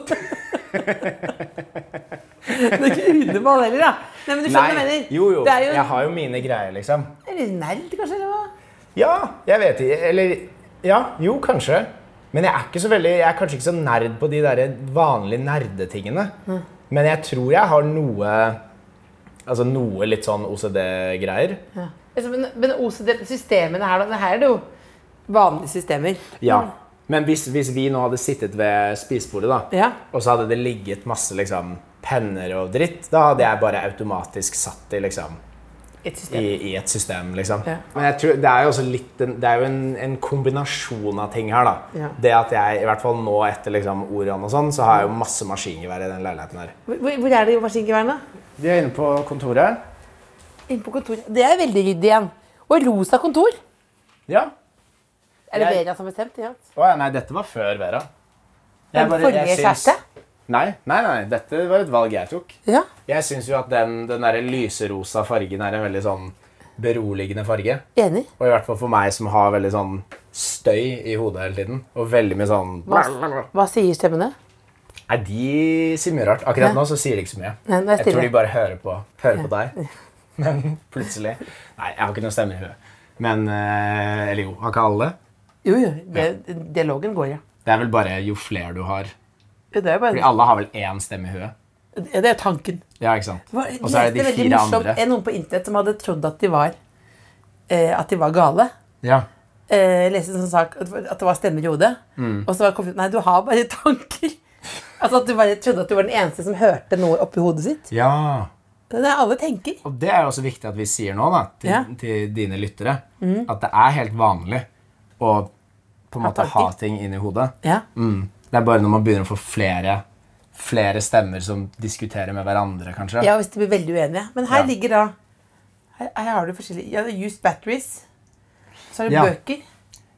A: Du er ikke unormal heller, da. Nei, men du skjønner hva jeg mener.
C: jo, jo.
A: Det er jo
C: Jeg har jo mine greier, liksom.
A: Eller nerd, kanskje? eller hva?
C: Ja, jeg vet ikke. Eller Ja, jo, kanskje. Men jeg er, ikke så veldig, jeg er kanskje ikke så nerd på de der vanlige nerdetingene. Men jeg tror jeg har noe Altså noe litt sånn OCD-greier.
A: Altså, Men, men OCD-systemene her, da. det Her er det jo vanlige systemer.
C: Ja. Men hvis, hvis vi nå hadde sittet ved spisebordet, da,
A: Ja.
C: og så hadde det ligget masse liksom, penner og dritt, da hadde jeg bare automatisk satt de liksom,
A: Et
C: i,
A: system.
C: i et system. Liksom.
A: Ja.
C: Men jeg tror, det er jo, også litt en, det er jo en, en kombinasjon av ting her. Da.
A: Ja.
C: Det at jeg, i hvert fall nå etter liksom, Orion og sånn, så har jeg jo masse maskingevær i den leiligheten her.
A: Hvor, hvor er det maskingeværene?
C: De er inne på kontoret.
A: Inne på kontoret. Det er veldig ryddig igjen. Og rosa kontor.
C: Ja.
A: Er det
C: Jeg-
A: Vera som har bestemt? Ja.
C: Å ja, nei, dette var før Vera. Jeg bare-
A: forrige
C: jeg syns-
A: kjæreste?
C: Nei, nei, nei, dette var et valg jeg tok.
A: Ja.
C: Jeg syns jo at den, den der lyserosa fargen er en veldig sånn beroligende farge.
A: Enig.
C: Og i hvert fall for meg som har veldig sånn støy i hodet hele tiden. Og veldig mye sånn
A: Hva, hva sier stemmene?
C: Nei, de sier mye rart. Akkurat
A: Ja.
C: nå så sier de ikke så mye.
A: Nei, nå er jeg
C: jeg tror
A: stille.
C: de bare hører på, hører på deg. Men plutselig Nei, jeg har ikke noe stemme i huet. Men eh, Eller jo, har ikke alle?
A: Jo, jo. Det, dialogen går, ja.
C: Det er vel bare jo flere du har.
A: Det er jo
C: Fordi
A: bare,
C: alle har vel én stemme i huet.
A: det er jo tanken.
C: Ja, ikke sant?
A: Hva- jeg
C: Og så er det
A: leste
C: de
A: veldig
C: fire
A: morsomt,
C: andre.
A: en Noen på internett som hadde trodd at de var, eh, at de var gale.
C: Ja.
A: Eh, jeg leste en sånn sak at at det var stemmer i hodet.
C: Mm.
A: Og så var kom, Nei, du har bare tanker. Altså At du bare trodde at du var den eneste som hørte noe oppi hodet sitt.
C: ja.
A: Det er alle tenker.
C: Og det er jo også viktig at vi sier nå, da, til,
A: Ja. Mm.
C: til dine lyttere, at det er helt vanlig å på
A: Ha
C: en måte ha
A: tanker.
C: ting inni hodet.
A: Ja.
C: Mm. Det er bare når man begynner å få flere, flere stemmer som diskuterer med hverandre, kanskje.
A: ja, hvis de blir veldig uenige. Men her
C: Ja.
A: ligger da her, her har du forskjellige ja, det er Used batteries. Så er det
C: Ja.
A: bøker.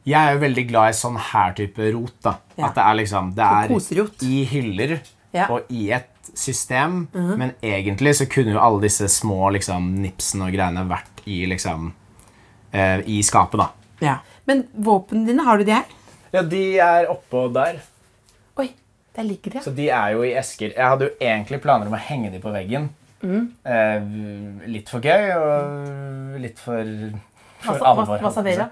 C: Jeg er jo veldig glad i sånn her type rot. da.
A: Ja.
C: At det er liksom, det
A: Sånn
C: er
A: koserot.
C: i hyller
A: Ja. Mhm.
C: og i et system, men egentlig så kunne jo alle disse små liksom, nipsene og greiene vært i, liksom, eh, i skapet, da.
A: Ja. Men våpnene dine, har du de her?
C: Ja, de er oppå der.
A: Oi, der ligger de. ja.
C: Så de er jo i esker. Jeg hadde jo egentlig planer om å henge de på veggen. Eh, litt for gøy og litt for, for
A: Hva sa-
C: alvor.
A: hva- hva sa Vera?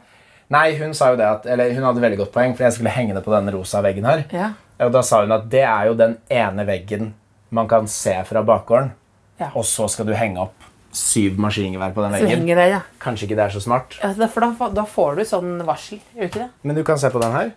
C: Nei, hun sa jo det at, eller hun hadde veldig godt poeng, for jeg skulle henge det på denne rosa veggen her.
A: Ja.
C: Og da sa hun at det er jo den ene veggen man kan se fra bakgården,
A: Ja.
C: og så skal du henge opp syv maskingevær på den
A: Som
C: veggen.
A: henger der, ja.
C: Kanskje ikke det er så smart,
A: Ja, for da, da får du sånn varsel, gjør du ikke det?
C: men du kan se på den her.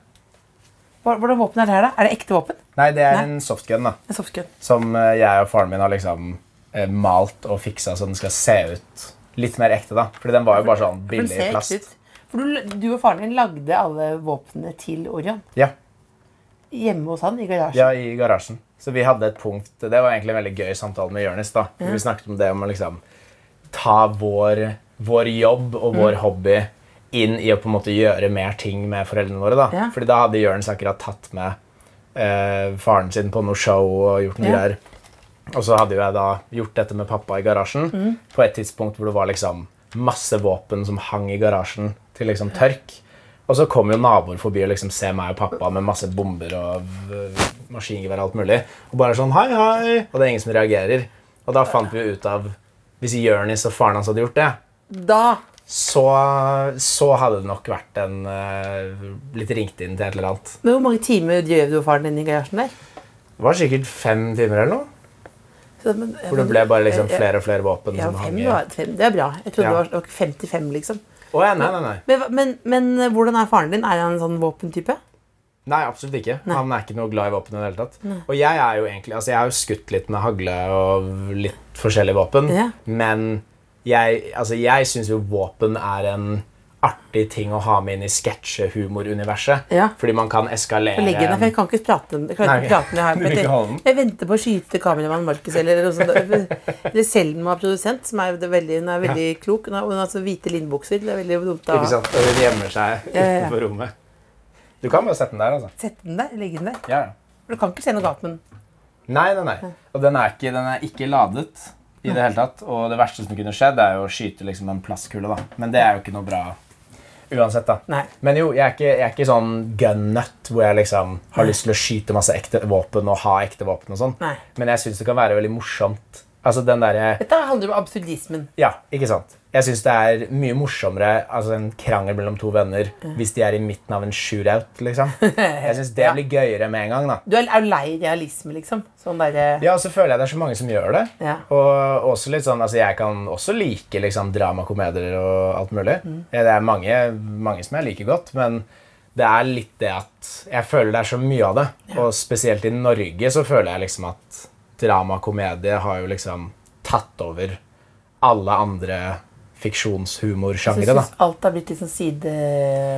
A: Hva- Hvordan våpen er det her, da? Er det ekte våpen?
C: Nei, det er
A: Nei.
C: en softgun da.
A: En softgun?
C: som eh, jeg og faren min har liksom eh, malt og fiksa så den skal se ut litt mer ekte. da. Fordi den var jo bare sånn
A: For den
C: billig
A: ser ekte
C: plast.
A: ut. For du, du og faren din lagde alle våpnene til Orion
C: Ja,
A: hjemme hos han i garasjen.
C: ja, i garasjen. Så vi hadde et punkt Det var egentlig en veldig gøy samtale med Jonis. da. Vi snakket om det om å liksom ta vår, vår jobb og
A: Mm.
C: vår hobby inn i å på en måte gjøre mer ting med foreldrene våre. da.
A: Ja.
C: Fordi da hadde Jonis akkurat tatt med eh, faren sin på noe show og gjort noe
A: Ja.
C: greier. Og så hadde jo jeg da gjort dette med pappa i garasjen på et tidspunkt hvor det var liksom masse våpen som hang i garasjen til liksom tørk. Og så kom jo naboer forbi og liksom ser meg og pappa med masse bomber og øh, maskingevær og alt mulig. Og bare sånn hei, hei. Og det er ingen som reagerer. Og da fant vi jo ut av Hvis Jonis og faren hans hadde gjort det,
A: Da
C: så, så hadde det nok vært en øh, litt ringt inn til et eller annet.
A: Men hvor mange timer drev du og faren din i garasjen der?
C: Det var sikkert fem timer eller noe.
A: Så, men,
C: Hvor det ble bare liksom flere og flere våpen
A: ja,
C: som
A: fem,
C: hang i.
A: var, fem, Det er bra. Jeg trodde
C: Ja.
A: det var- det var 55, liksom.
C: Å ja, nei, nei, nei.
A: Men, hva- men, men eh, hvordan er faren din? Er han en sånn våpentype?
C: Nei, absolutt ikke. Han er ikke noe glad i våpen i det hele tatt. Og jeg er jo egentlig, altså jeg har jo skutt litt med hagle og litt forskjellige våpen,
A: Ja.
C: men jeg, altså jeg syns jo våpen er en artig ting å ha med inn i sketsjehumoruniverset.
A: Ja.
C: Fordi man kan eskalere
A: Legg den der, for jeg kan ikke prate om det. Jeg klarer
C: Nei.
A: ikke å prate om det her.
C: Du vil ikke ha den?
A: Jeg, jeg venter på å skyte kameramannen Markus eller noe sånt. Eller Selma er produsent, som er veldig, hun er veldig klok. Hun har, hun har så hvite linnbukser. Det er veldig dumt å
C: Ikke sant? Og den gjemmer
A: Ja,
C: seg
A: ja, ja.
C: utenfor rommet. Du kan bare sette den der, altså.
A: sette den der. Legge den der.
C: Ja, ja.
A: For du kan ikke se noe galt med den.
C: Nei, nei, nei. Og den er ikke, den er ikke ladet i det hele tatt. Og det verste som kunne skjedd, er jo å skyte liksom en plastkule, da. Men det er jo ikke noe bra uansett, da.
A: Nei.
C: Men jo, jeg er ikke, jeg er ikke sånn gun-nut hvor jeg liksom har lyst til å skyte masse ekte våpen og ha ekte våpen og sånn.
A: Nei.
C: Men jeg syns det kan være veldig morsomt. Altså den derre
A: Dette handler om absurdismen.
C: ja, ikke sant? Jeg syns det er mye morsommere altså en krangel mellom to venner hvis de er i midten av en shootout. liksom. Jeg syns det
A: Ja.
C: blir gøyere med en gang. da.
A: Du er, er jo lei realisme, liksom. Sånn derre
C: Ja, og så føler jeg det er så mange som gjør det.
A: Ja.
C: Og også litt sånn, altså Jeg kan også like liksom, dramakomedier og alt mulig.
A: Mm.
C: Ja, Det er mange, mange som jeg liker godt, men det er litt det at jeg føler det er så mye av det. Og spesielt i Norge så føler jeg liksom at dramakomedie har jo liksom tatt over alle andre
A: Så
C: fiksjonshumorsjangre. da.
A: syns alt har blitt liksom side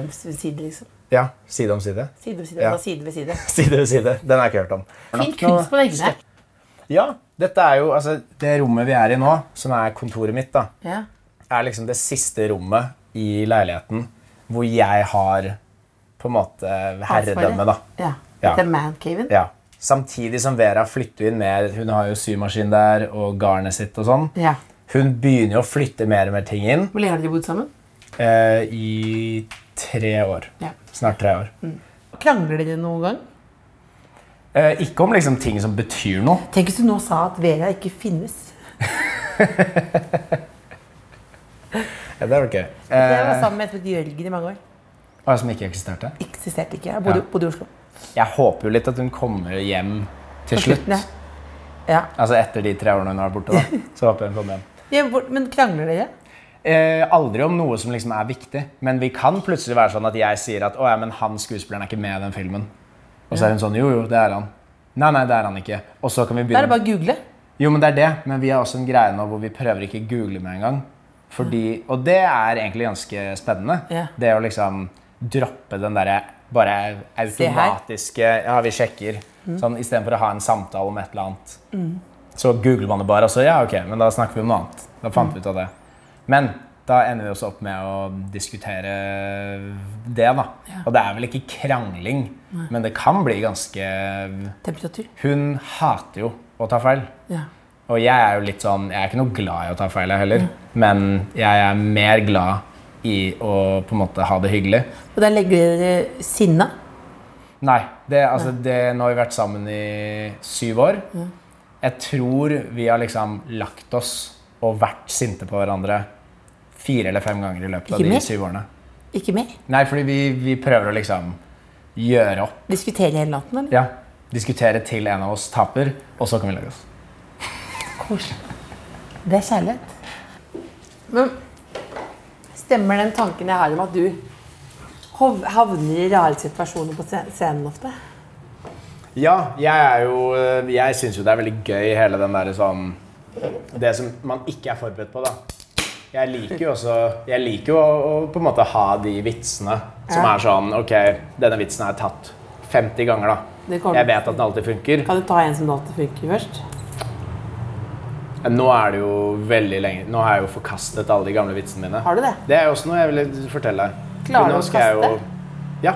A: ved side, liksom.
C: Ja, Side om side.
A: Side ved side,
C: Ja.
A: altså side ved side.
C: Side ved side. Den har jeg ikke hørt om.
A: Fin kunst på veggene.
C: Ja, dette er jo, altså, Det rommet vi er i nå, som er kontoret mitt, da,
A: Ja.
C: er liksom det siste rommet i leiligheten hvor jeg har på en måte herredømme, da.
A: Ja.
C: Ja.
A: Til mancaven.
C: Ja. Samtidig som Vera flytter inn mer Hun har jo symaskin der og garnet sitt og sånn.
A: Ja.
C: Hun begynner jo å flytte mer og mer ting inn
A: Hvor lenge har de bodd sammen?
C: eh, i tre år.
A: Ja.
C: Snart tre år.
A: Krangler dere noen gang?
C: Eh, ikke om liksom ting som betyr noe.
A: Tenk hvis du nå sa at Vera ikke finnes.
C: Ja, det er vel gøy.
A: Jeg var
C: Eh,
A: sammen med et Jørgen i mange år.
C: hva som ikke eksisterte.
A: Eksisterte ikke. Jeg bodde,
C: Ja.
A: bodde i Oslo.
C: Jeg håper jo litt at hun kommer hjem til
A: På
C: slutt.
A: slutten, Ja.
C: Altså etter de tre årene hun har vært borte. da. Så håper jeg hun kommer hjem.
A: Ja, hvor- Men krangler dere?
C: Eh, aldri om noe som liksom er viktig, men vi kan plutselig være sånn at jeg sier at å, ja, men han skuespilleren er ikke med i den filmen. Og så er hun sånn jo, jo, det er han. Nei, nei, det er han ikke. Og så kan vi
A: Da er det
C: begynne
A: bare å google.
C: Jo, men det er det, men vi har også en greie nå hvor vi prøver ikke å google med en gang. Fordi, og det er egentlig ganske spennende.
A: Ja.
C: Det å liksom droppe den derre bare
A: Se her. Mm.
C: automatiske Ja, vi sjekker. Sånn istedenfor å ha en samtale om et eller annet. Så googler man det bare, og så ja, ok, men da snakker vi om noe annet. Da fant vi ut av det. Men da ender vi også opp med å diskutere det, da. Og det er vel ikke krangling, men det kan bli ganske
A: Temperatur.
C: Hun hater jo å ta feil.
A: Ja.
C: Og jeg er jo litt sånn, jeg er ikke noe glad i å ta feil jeg heller, men jeg er mer glad i å på en måte ha det hyggelig.
A: Og der legger dere sinna.
C: Nei, det, altså, det, nå har vi vært sammen i syv år. Jeg tror vi har liksom lagt oss og vært sinte på hverandre fire eller fem ganger i løpet av
A: Ikke
C: de
A: mer?
C: syv årene.
A: Ikke mer.
C: Nei, fordi vi, vi prøver å liksom gjøre opp.
A: Diskutere hele natten, eller?
C: Ja, diskutere til en av oss taper, og så kan vi legge oss.
A: Koselig. Det er kjærlighet. Men stemmer den tanken jeg har om at du hov- havner i rare situasjoner på scen- scenen ofte?
C: Ja, jeg er jo eh, Jeg syns jo det er veldig gøy hele den derre sånn Det som man ikke er forberedt på, da. Jeg liker jo også Jeg liker jo å, å på en måte ha de vitsene som
A: Ja.
C: er sånn Ok, denne vitsen er tatt 50 ganger, da.
A: Det kommer-
C: Jeg vet at den alltid funker.
A: Kan du ta en som det alltid funker først?
C: Men Nå er det jo veldig lenge Nå har jeg jo forkastet alle de gamle vitsene mine.
A: Har du det?
C: Det er jo også noe jeg ville fortelle deg.
A: Klarer
C: For nå
A: du å
C: skal jeg
A: kaste?
C: Jo, ja.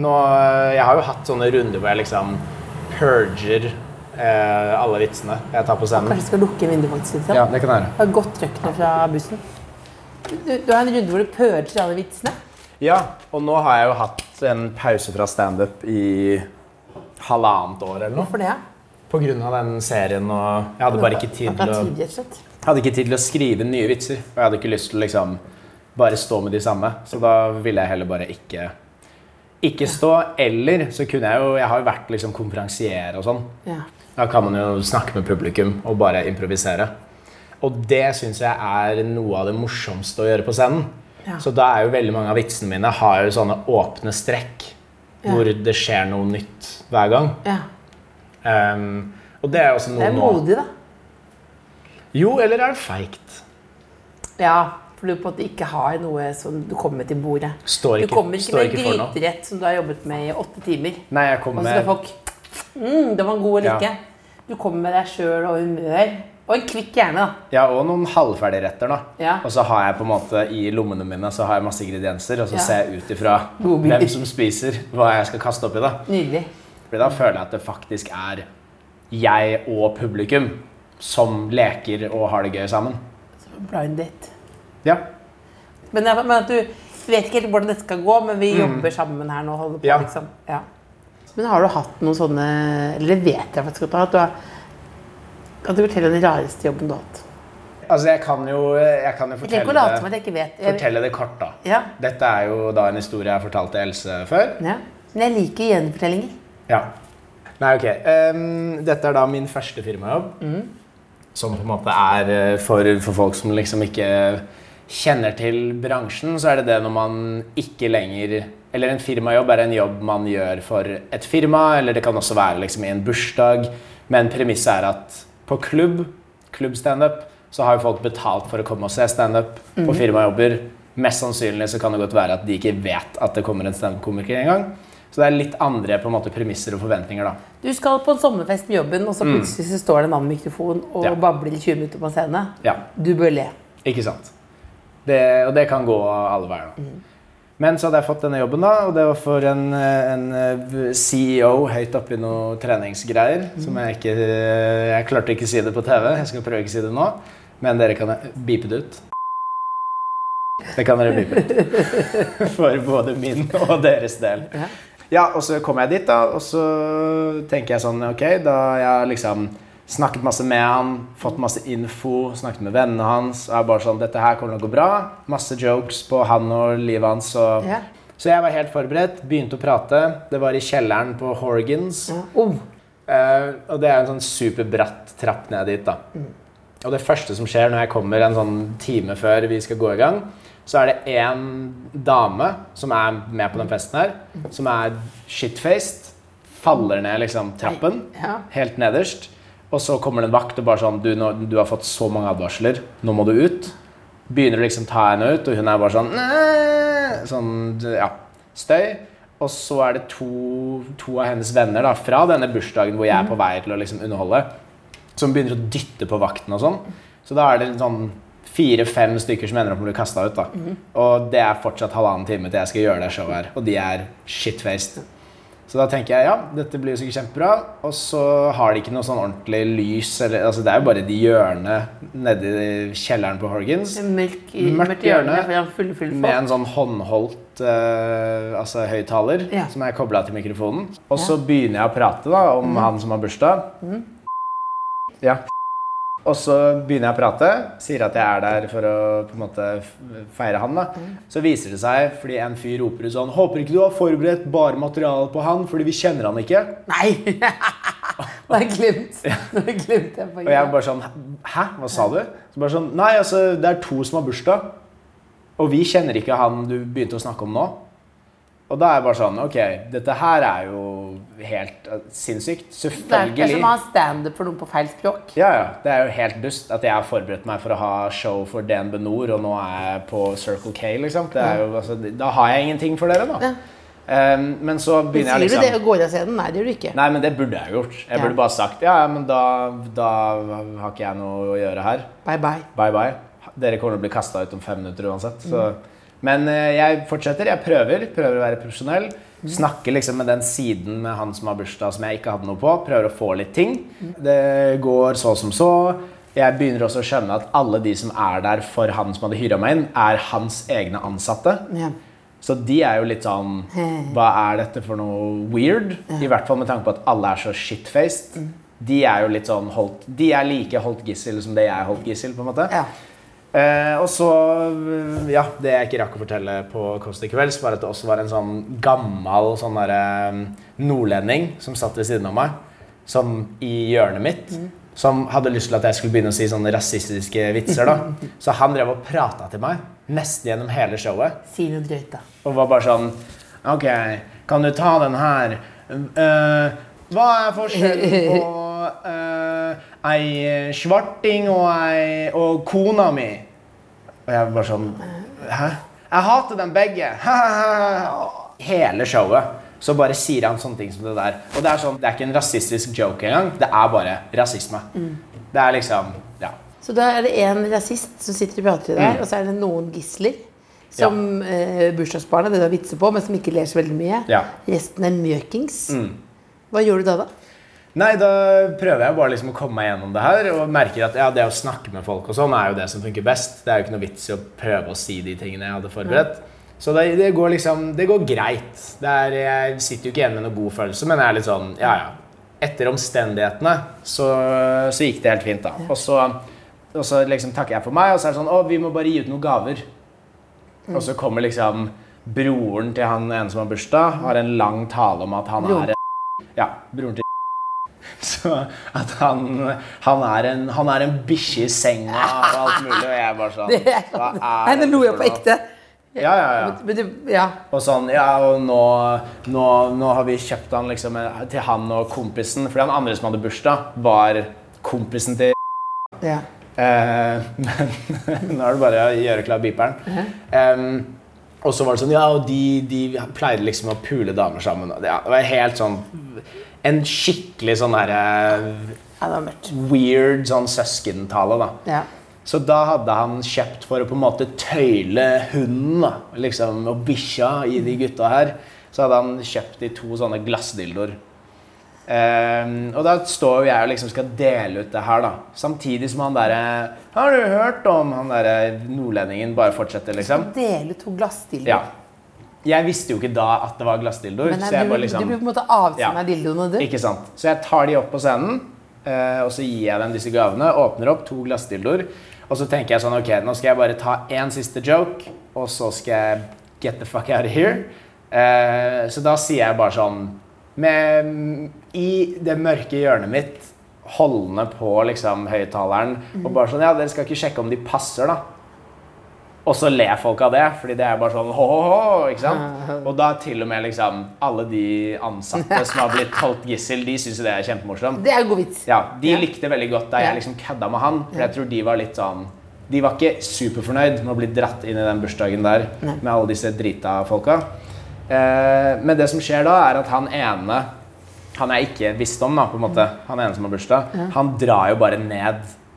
C: Nå, eh, jeg har jo hatt sånne runder hvor jeg liksom purger eh, alle vitsene jeg tar på scenen.
A: Kanskje du skal lukke vinduet faktisk liksom? litt?
C: Ja,
A: Ja.
C: det kan jeg gjøre.
A: Det er godt trøkk nå fra bussen. Du, du har en runde hvor du purger alle vitsene.
C: Ja, og nå har jeg jo hatt en pause fra standup i halvannet år eller noe.
A: For det, ja.
C: På grunn av den serien og Jeg hadde bare ikke tid
A: Det er
C: til å,
A: tid, rett og slett.
C: jeg hadde ikke tid til å skrive nye vitser. Og jeg hadde ikke lyst til å liksom bare stå med de samme. Så da ville jeg heller bare ikke ikke stå. Eller så kunne jeg jo Jeg har jo vært liksom konferansier og sånn.
A: Ja.
C: Da kan man jo snakke med publikum og bare improvisere. Og det syns jeg er noe av det morsomste å gjøre på scenen.
A: Ja.
C: Så da er jo veldig mange av vitsene mine har jo sånne åpne strekk hvor det skjer noe nytt hver gang.
A: ja.
C: Ehm, og det er også
A: Det
C: noe
A: er
C: nå.
A: modig, da.
C: Jo, eller er det feigt?
A: Ja, for du på en måte ikke har noe som du kommer til bordet.
C: Står
A: Du
C: ikke-
A: kommer ikke
C: står
A: med
C: ikke for noe.
A: gryterett som du har jobbet med i åtte timer.
C: Nei, jeg
A: Og
C: kommer
A: så skal
C: med
A: folk mm, Det var en god eller
C: Ja.
A: ikke. Du kommer med deg sjøl og humør. Og en kvikk hjerne, da.
C: Ja, og noen halvferdige retter, da.
A: Ja.
C: Og så har jeg på en måte i lommene mine så har jeg masse ingredienser, og så
A: Ja.
C: ser jeg ut ifra
A: Godbiter.
C: hvem som spiser hva jeg skal kaste oppi, da.
A: Nydelig.
C: For da føler jeg at det faktisk er jeg og publikum som leker og har det gøy sammen.
A: Blind date.
C: Ja.
A: Men, jeg, men at du du vet ikke helt hvordan dette skal gå, men vi jobber sammen her nå. og Holder på,
C: Mm. Ja.
A: liksom. ja. Men har du hatt noen sånne Eller det vet jeg faktisk at du har. At du har kan du fortelle den rareste jobben du har hatt?
C: Altså, jeg kan jo, jeg kan jo
A: Jeg trenger ikke å
C: fortelle,
A: late som at
C: det,
A: jeg ikke vet. Jeg,
C: fortelle det kort, da.
A: Ja.
C: Dette er jo da en historie jeg har fortalt til Else før.
A: ja. Men jeg liker gjenfortellinger.
C: Ja. Nei, ok. Ehm, dette er da min første firmajobb. Som på en måte er eh, for, for folk som liksom ikke kjenner til bransjen, så er det det når man ikke lenger Eller en firmajobb er en jobb man gjør for et firma, eller det kan også være liksom i en bursdag. Men premisset er at på klubb, klubbstandup, så har jo folk betalt for å komme og se standup. På firmajobber mest sannsynlig så kan det godt være at de ikke vet at det kommer en standup-komiker engang. Så det er litt andre på en måte premisser og forventninger, da.
A: Du skal på en sommerfest med jobben, og så plutselig så står det en annen mikrofon og
C: Mm. Ja.
A: babler i 20 minutter på en scene.
C: Ja.
A: Du bør le.
C: Ikke sant? Det, og det kan gå alle veier. da. Men så hadde jeg fått denne jobben, da, og det var for en, eh, en eh, CEO høyt oppe i noe treningsgreier. Som jeg ikke eh, Jeg klarte ikke å si det på TV. Jeg skal prøve ikke å si det nå. Men dere kan beepe det ut. Det kan dere beepe ut. For både min og deres del. Ja, og så kom jeg dit, da, og så tenker jeg sånn Ok, da jeg har liksom snakket masse med han, fått masse info, snakket med vennene hans og er bare sånn Dette her kommer til å gå bra. Masse jokes på han og livet hans og
A: Ja.
C: Så jeg var helt forberedt, begynte å prate. Det var i kjelleren på Horgans.
A: Oh,
C: Eh, og det er en sånn superbratt trapp ned dit, da. Og det første som skjer når jeg kommer en sånn time før vi skal gå i gang, så er det en dame som er med på den festen her, som er shitfaced, faller ned liksom trappen,
A: Nei, ja.
C: helt nederst, og så kommer det en vakt og bare sånn, du, nå, du har fått så mange advarsler, nå må du ut. Begynner å liksom ta henne ut, og hun er bare sånn, «Næ!» sånn, ja, støy. Og så er det to, to av hennes venner da, fra denne bursdagen hvor jeg er på vei til å liksom underholde, som begynner å dytte på vakten og sånn. Så da er det sånn fire-fem stykker som ender opp med å bli kasta ut. da. Og det er fortsatt halvannen time til jeg skal gjøre det showet her, og de er shitfaced. Så da tenker jeg ja, dette blir jo sikkert kjempebra. Og så har de ikke noe sånn ordentlig lys. Eller, altså det er jo bare de hjørnene nedi kjelleren på Horgans.
A: mørkt
C: Mørkt hjørne
A: Full, full
C: med en sånn håndholdt eh, altså høyttaler
A: Ja.
C: som er kobla til mikrofonen. Og så begynner jeg å prate da, om han som har bursdag. Ja. Og så begynner jeg å prate, sier at jeg er der for å på en måte f- feire han. da. Så viser det seg, fordi en fyr roper ut sånn 'Håper ikke du har forberedt bare materiale på han, fordi vi kjenner han ikke'.
A: Nei! Nå har jeg glemt. Nå har jeg glemt det.
C: Og jeg bare sånn Hæ? Hva sa du? Så bare sånn Nei, altså, det er to som har bursdag. Og vi kjenner ikke han du begynte å snakke om nå. Og da er jeg bare sånn Ok, dette her er jo helt eh, sinnssykt.
A: Det er
C: Selvfølgelig.
A: som å ha standup for noen på feil språk.
C: Ja, ja. Det er jo helt dust at jeg har forberedt meg for å ha show for DNB Nord, og nå er jeg på Circle K, liksom. Det er jo, altså, da har jeg ingenting for dere, da.
A: Ja.
C: Um, men så begynner
A: Sier
C: jeg
A: du
C: liksom
A: det og går av scenen? Nei, det gjør du ikke.
C: Nei, men det burde jeg gjort. Jeg
A: Ja.
C: burde bare sagt ja, ja, men da, da har ikke jeg noe å gjøre her.
A: Bye bye.
C: Bye bye. Dere kommer til å bli kasta ut om fem minutter uansett. Så. Men eh, jeg fortsetter. Jeg prøver. Prøver å være profesjonell. Snakker liksom med den siden med han som har bursdag som jeg ikke hadde noe på. Prøver å få litt ting. Det går så som så. Jeg begynner også å skjønne at alle de som er der for han som hadde hyra meg inn, er hans egne ansatte.
A: Ja.
C: Så de er jo litt sånn Hva er dette for noe weird? I hvert fall med tanke på at alle er så shitfaced. De er jo litt sånn holdt, De er like holdt gissel som det jeg er holdt gissel, på en måte.
A: Ja.
C: Eh, og så, ja, det jeg ikke rakk å fortelle på Kåss til kvelds, var at det også var en sånn gammel sånn derre, eh, nordlending som satt ved siden av meg, som i hjørnet mitt, som hadde lyst til at jeg skulle begynne å si sånne rasistiske vitser, da. Så han drev og prata til meg nesten gjennom hele showet.
A: Si noe drøyt, da.
C: Og var bare sånn Ok, kan du ta den her? Eh, hva er forskjellen på eh, ei svarting og, ei, og kona mi? Og jeg var bare sånn Hæ? Jeg hater dem begge! Hele showet. Så bare sier han sånne ting som det der. Og det er sånn, det er ikke en rasistisk joke engang. Det er bare rasisme. Det er liksom Ja.
A: Så da er det en rasist som sitter og prater til deg,
C: Mm.
A: og så er det noen gisler. Som eh, bursdagsbarnet, det du har vitser på, men som ikke ler så veldig mye.
C: Ja. Mm.
A: Resten er mjøkings. Hva gjør du da, da?
C: Nei, da prøver jeg bare liksom å komme meg gjennom det her, og merker at ja, det å snakke med folk og sånn er jo det som funker best. Det er jo ikke noe vits i å prøve å si de tingene jeg hadde forberedt. Så det, det går liksom, det går greit. Det er, jeg sitter jo ikke igjen med noen god følelse, men jeg er litt sånn, ja, ja. Etter omstendighetene, så, så gikk det helt fint da. Og så, og så liksom takker jeg for meg, og så er det sånn, å, vi må bare gi ut noen gaver.
A: Mm.
C: Og så kommer liksom broren til han ene som har bursdag, har en lang tale om at han
A: Broren.
C: er Ja, broren til Så at han, han er en, han er en bikkje i senga og alt mulig, og jeg er bare sånn Hva
A: Nei,
C: er
A: nå lo jeg på ekte.
C: Ja, ja, ja.
A: Men du, ja.
C: Og sånn, ja, og nå, nå, nå har vi kjøpt han liksom eh, til han og kompisen, fordi han andre som hadde bursdag, var kompisen til
A: ja.
C: Eh, men nå er det bare å gjøre klar beeperen. Em, og så var det sånn, ja, og de, de pleide liksom å pule damer sammen. og det- Ja, det var helt sånn En skikkelig sånn derre
A: Ja, det var mørkt.
C: weird sånn søskentale, da.
A: Ja.
C: Så da hadde han kjøpt for å på en måte tøyle hunden da, liksom, og bikkja i de gutta her. Så hadde han kjøpt de to sånne glassdildoer. Ehm, og da står jo jeg og liksom skal dele ut det her, da. Samtidig som han derre Har du hørt om han derre nordlendingen? Bare fortsetter, liksom.
A: Dele to glassdildoer.
C: Ja. Jeg visste jo ikke da at det var glassdildoer.
A: Men
C: så
A: nei,
C: jeg
A: du,
C: bare liksom-
A: du blir på en måte avsi
C: Ja.
A: meg dildoene, du.
C: Ikke sant? Så jeg tar de opp på scenen, eh, og så gir jeg dem disse gavene. Åpner opp to glassdildoer. Og så tenker jeg sånn, ok, nå skal jeg bare ta én siste joke, og så skal jeg get the fuck out of here. Eh, så da sier jeg bare sånn med, I det mørke hjørnet mitt, holdende på liksom høyttaleren, og bare sånn Ja, dere skal ikke sjekke om de passer, da. Og så ler folk av det, fordi det er bare sånn hå-hå-hå, ikke sant? Og da til og med liksom alle de ansatte som har blitt holdt gissel, de syns jo det er kjempemorsomt.
A: Det er jo god vits.
C: Ja, de likte veldig godt da
A: Ja.
C: jeg liksom kødda med han, for jeg tror de var litt sånn De var ikke superfornøyd med å bli dratt inn i den bursdagen der med alle disse drita folka. Eh, men det som skjer da, er at han ene Han jeg ikke visste om, da, på en måte, han ene som har bursdag, han drar jo bare ned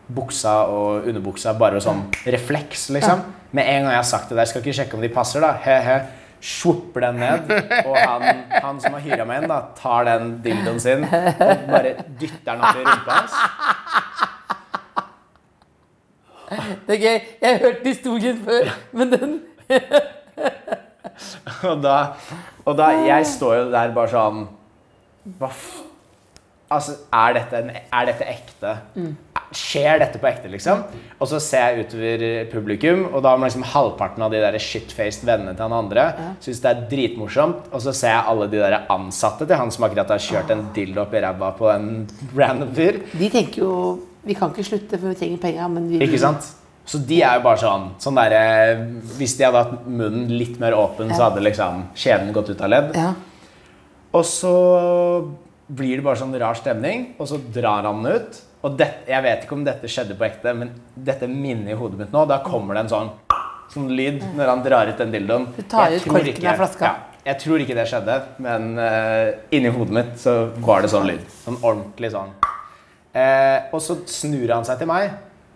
C: buksa og underbuksa bare sånn refleks, liksom. Med en gang jeg har sagt det der, skal ikke sjekke om de passer, da. He-he. Svopper den ned, og han, han som har hyra meg inn, da, tar den dildoen sin og bare dytter den opp i rumpa hans.
A: Det er gøy. Jeg har hørt historien før, men den
C: Og da, og da Jeg står jo der bare sånn Hva f... Altså, er dette, en, er dette ekte? Skjer dette på ekte, liksom? Og så ser jeg utover publikum, og da må liksom halvparten av de der shitfaced vennene til han andre synes det er dritmorsomt. Og så ser jeg alle de der ansatte til han som akkurat har kjørt en dildo opp i ræva på en random fyr.
A: De tenker jo Vi kan ikke slutte, for vi trenger penger, men vi
C: Ikke sant? Så de er jo bare sånn, sånn der, Hvis de hadde hatt munnen litt mer åpen, så hadde liksom kjeden gått ut av ledd.
A: Ja.
C: Og så blir det bare sånn rar stemning, og så drar han den ut. Og det, jeg vet ikke om dette skjedde på ekte, men dette minnet i hodet mitt nå, da kommer det en sånn, sånn lyd når han drar ut den dildoen.
A: Du tar
C: Jeg
A: ut
C: tror
A: korken
C: ikke-
A: av flaska.
C: Ja, jeg tror ikke det skjedde, men eh, inni hodet mitt så var det sånn lyd. Sånn ordentlig sånn. Eh, og så snur han seg til meg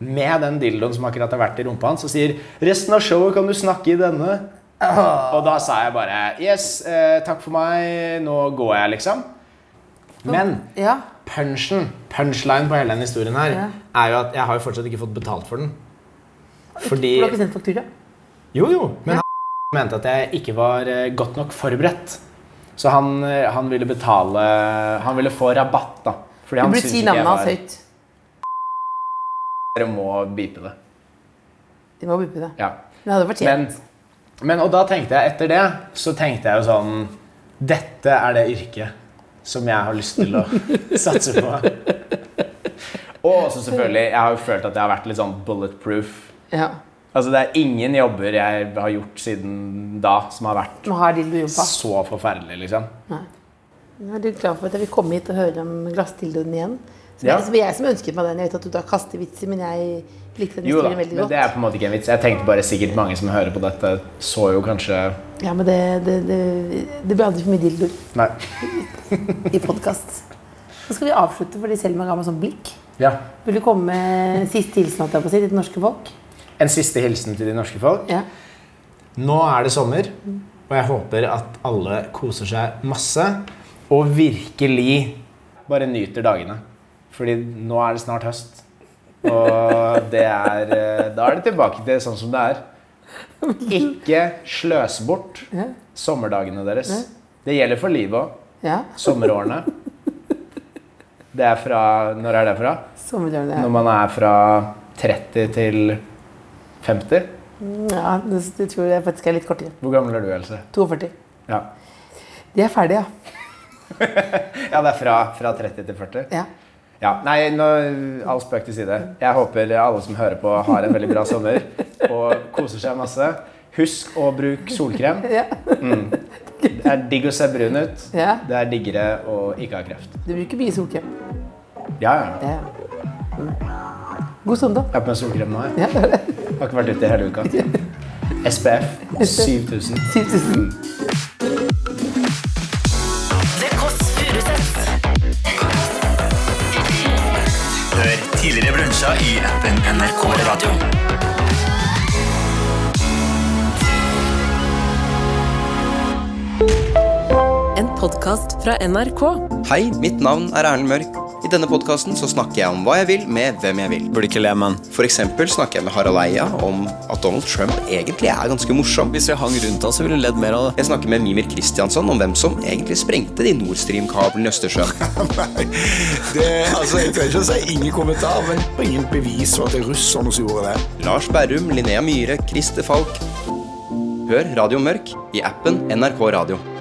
C: med den dildoen som akkurat har vært i rumpa hans, og sier 'Resten av showet kan du snakke i denne'. Og da sa jeg bare 'Yes, eh, takk for meg. Nå går jeg', liksom. Men
A: Ja.
C: punchen, punchline på hele den historien her,
A: Ja.
C: er jo at jeg har jo fortsatt ikke fått betalt for den. Fordi
A: Du har ikke sendt faktura?
C: Jo, jo, men han mente at jeg ikke var eh, godt nok forberedt. Så han, eh, han ville betale Han ville få rabatt, da. Fordi
A: Du
C: han
A: burde
C: syntes
A: si
C: ikke jeg
A: navnet hans
C: var-
A: høyt.
C: Dere må beepe det.
A: De må bippe det.
C: Ja.
A: Men det hadde fortjent.
C: Men, men og da tenkte jeg etter det, så tenkte jeg jo sånn Dette er det yrket som jeg har lyst til å satse på. Og også selvfølgelig, jeg har jo følt at jeg har vært litt sånn bulletproof.
A: Ja.
C: Altså det er ingen jobber jeg har gjort siden da som har vært
A: Nå har dildo jobba.
C: så forferdelig, liksom.
A: Nå er du glad for at jeg vil komme hit og høre om glassdildoen igjen. Som,
C: Ja.
A: jeg, som jeg som ønsket meg den. Jeg vet at du tar kastevitser, men jeg likte den
C: Jo da,
A: historien
C: men
A: veldig godt.
C: det er på en måte ikke en vits. Jeg tenkte bare sikkert mange som hører på dette, så jo kanskje
A: Ja, men det, det, det, det blir aldri for mye dildoer
C: Nei.
A: i podkast. Nå skal vi avslutte, fordi Selma ga meg sånn blikk.
C: Ja.
A: Vil du komme med en siste hilsen holdt jeg på å si, til det norske folk?
C: En siste hilsen til de norske folk.
A: Ja.
C: Nå er det sommer, og jeg håper at alle koser seg masse. Og virkelig bare nyter dagene. Fordi nå er det snart høst. Og det er eh, Da er det tilbake til sånn som det er. Ikke sløs bort sommerdagene deres. Det gjelder for livet òg.
A: ja.
C: Sommerårene. Det er fra Når er det fra?
A: Sommerdagene.
C: Når man er fra 30 til 50?
A: Ja, det, det tror jeg faktisk er litt kortere.
C: Hvor gammel er du, Else?
A: 42.
C: Ja.
A: De er ferdige, ja.
C: Ja, det er fra, fra 30 til 40.
A: ja.
C: Ja, nei, nå, all spøk til side. Jeg håper alle som hører på, har en veldig bra sommer og koser seg masse. Husk å bruke solkrem. Mm.
A: Ja.
C: Det er digg å se brun ut.
A: Ja.
C: Det er diggere å ikke ha kreft.
A: Du bruker mye solkrem.
C: Ja, ja.
A: Ja. God søndag.
C: Jeg har på meg solkrem nå. Jeg
A: Ja.
C: har ikke vært ute i hele uka. SPF 7000.
A: 7000.
D: Det Kåss Furuseths.
E: Hør
F: tidligere brunsja i appen NRK Radio.
G: En podkast fra NRK.
H: Hei, mitt navn er Erlend Mørk. I denne podkasten så snakker jeg om hva jeg vil med hvem jeg vil. Burde ikke le, men. For eksempel snakker jeg med Harald Eia om at Donald Trump egentlig er ganske morsom.
F: Hvis vi hang rundt oss, så ville vi ledd mer av det.
H: Jeg snakker med Mimir Kristiansson om hvem som egentlig sprengte de Nord Stream-kablene i Østersjøen.
I: Det, altså, jeg trenger ikke å si ingen kommentar, men ingen bevis for at det er russerne som gjorde det.
H: Lars Berrum, Linnea Myhre, Christer Falk. Hør Radio Mørk i appen NRK Radio.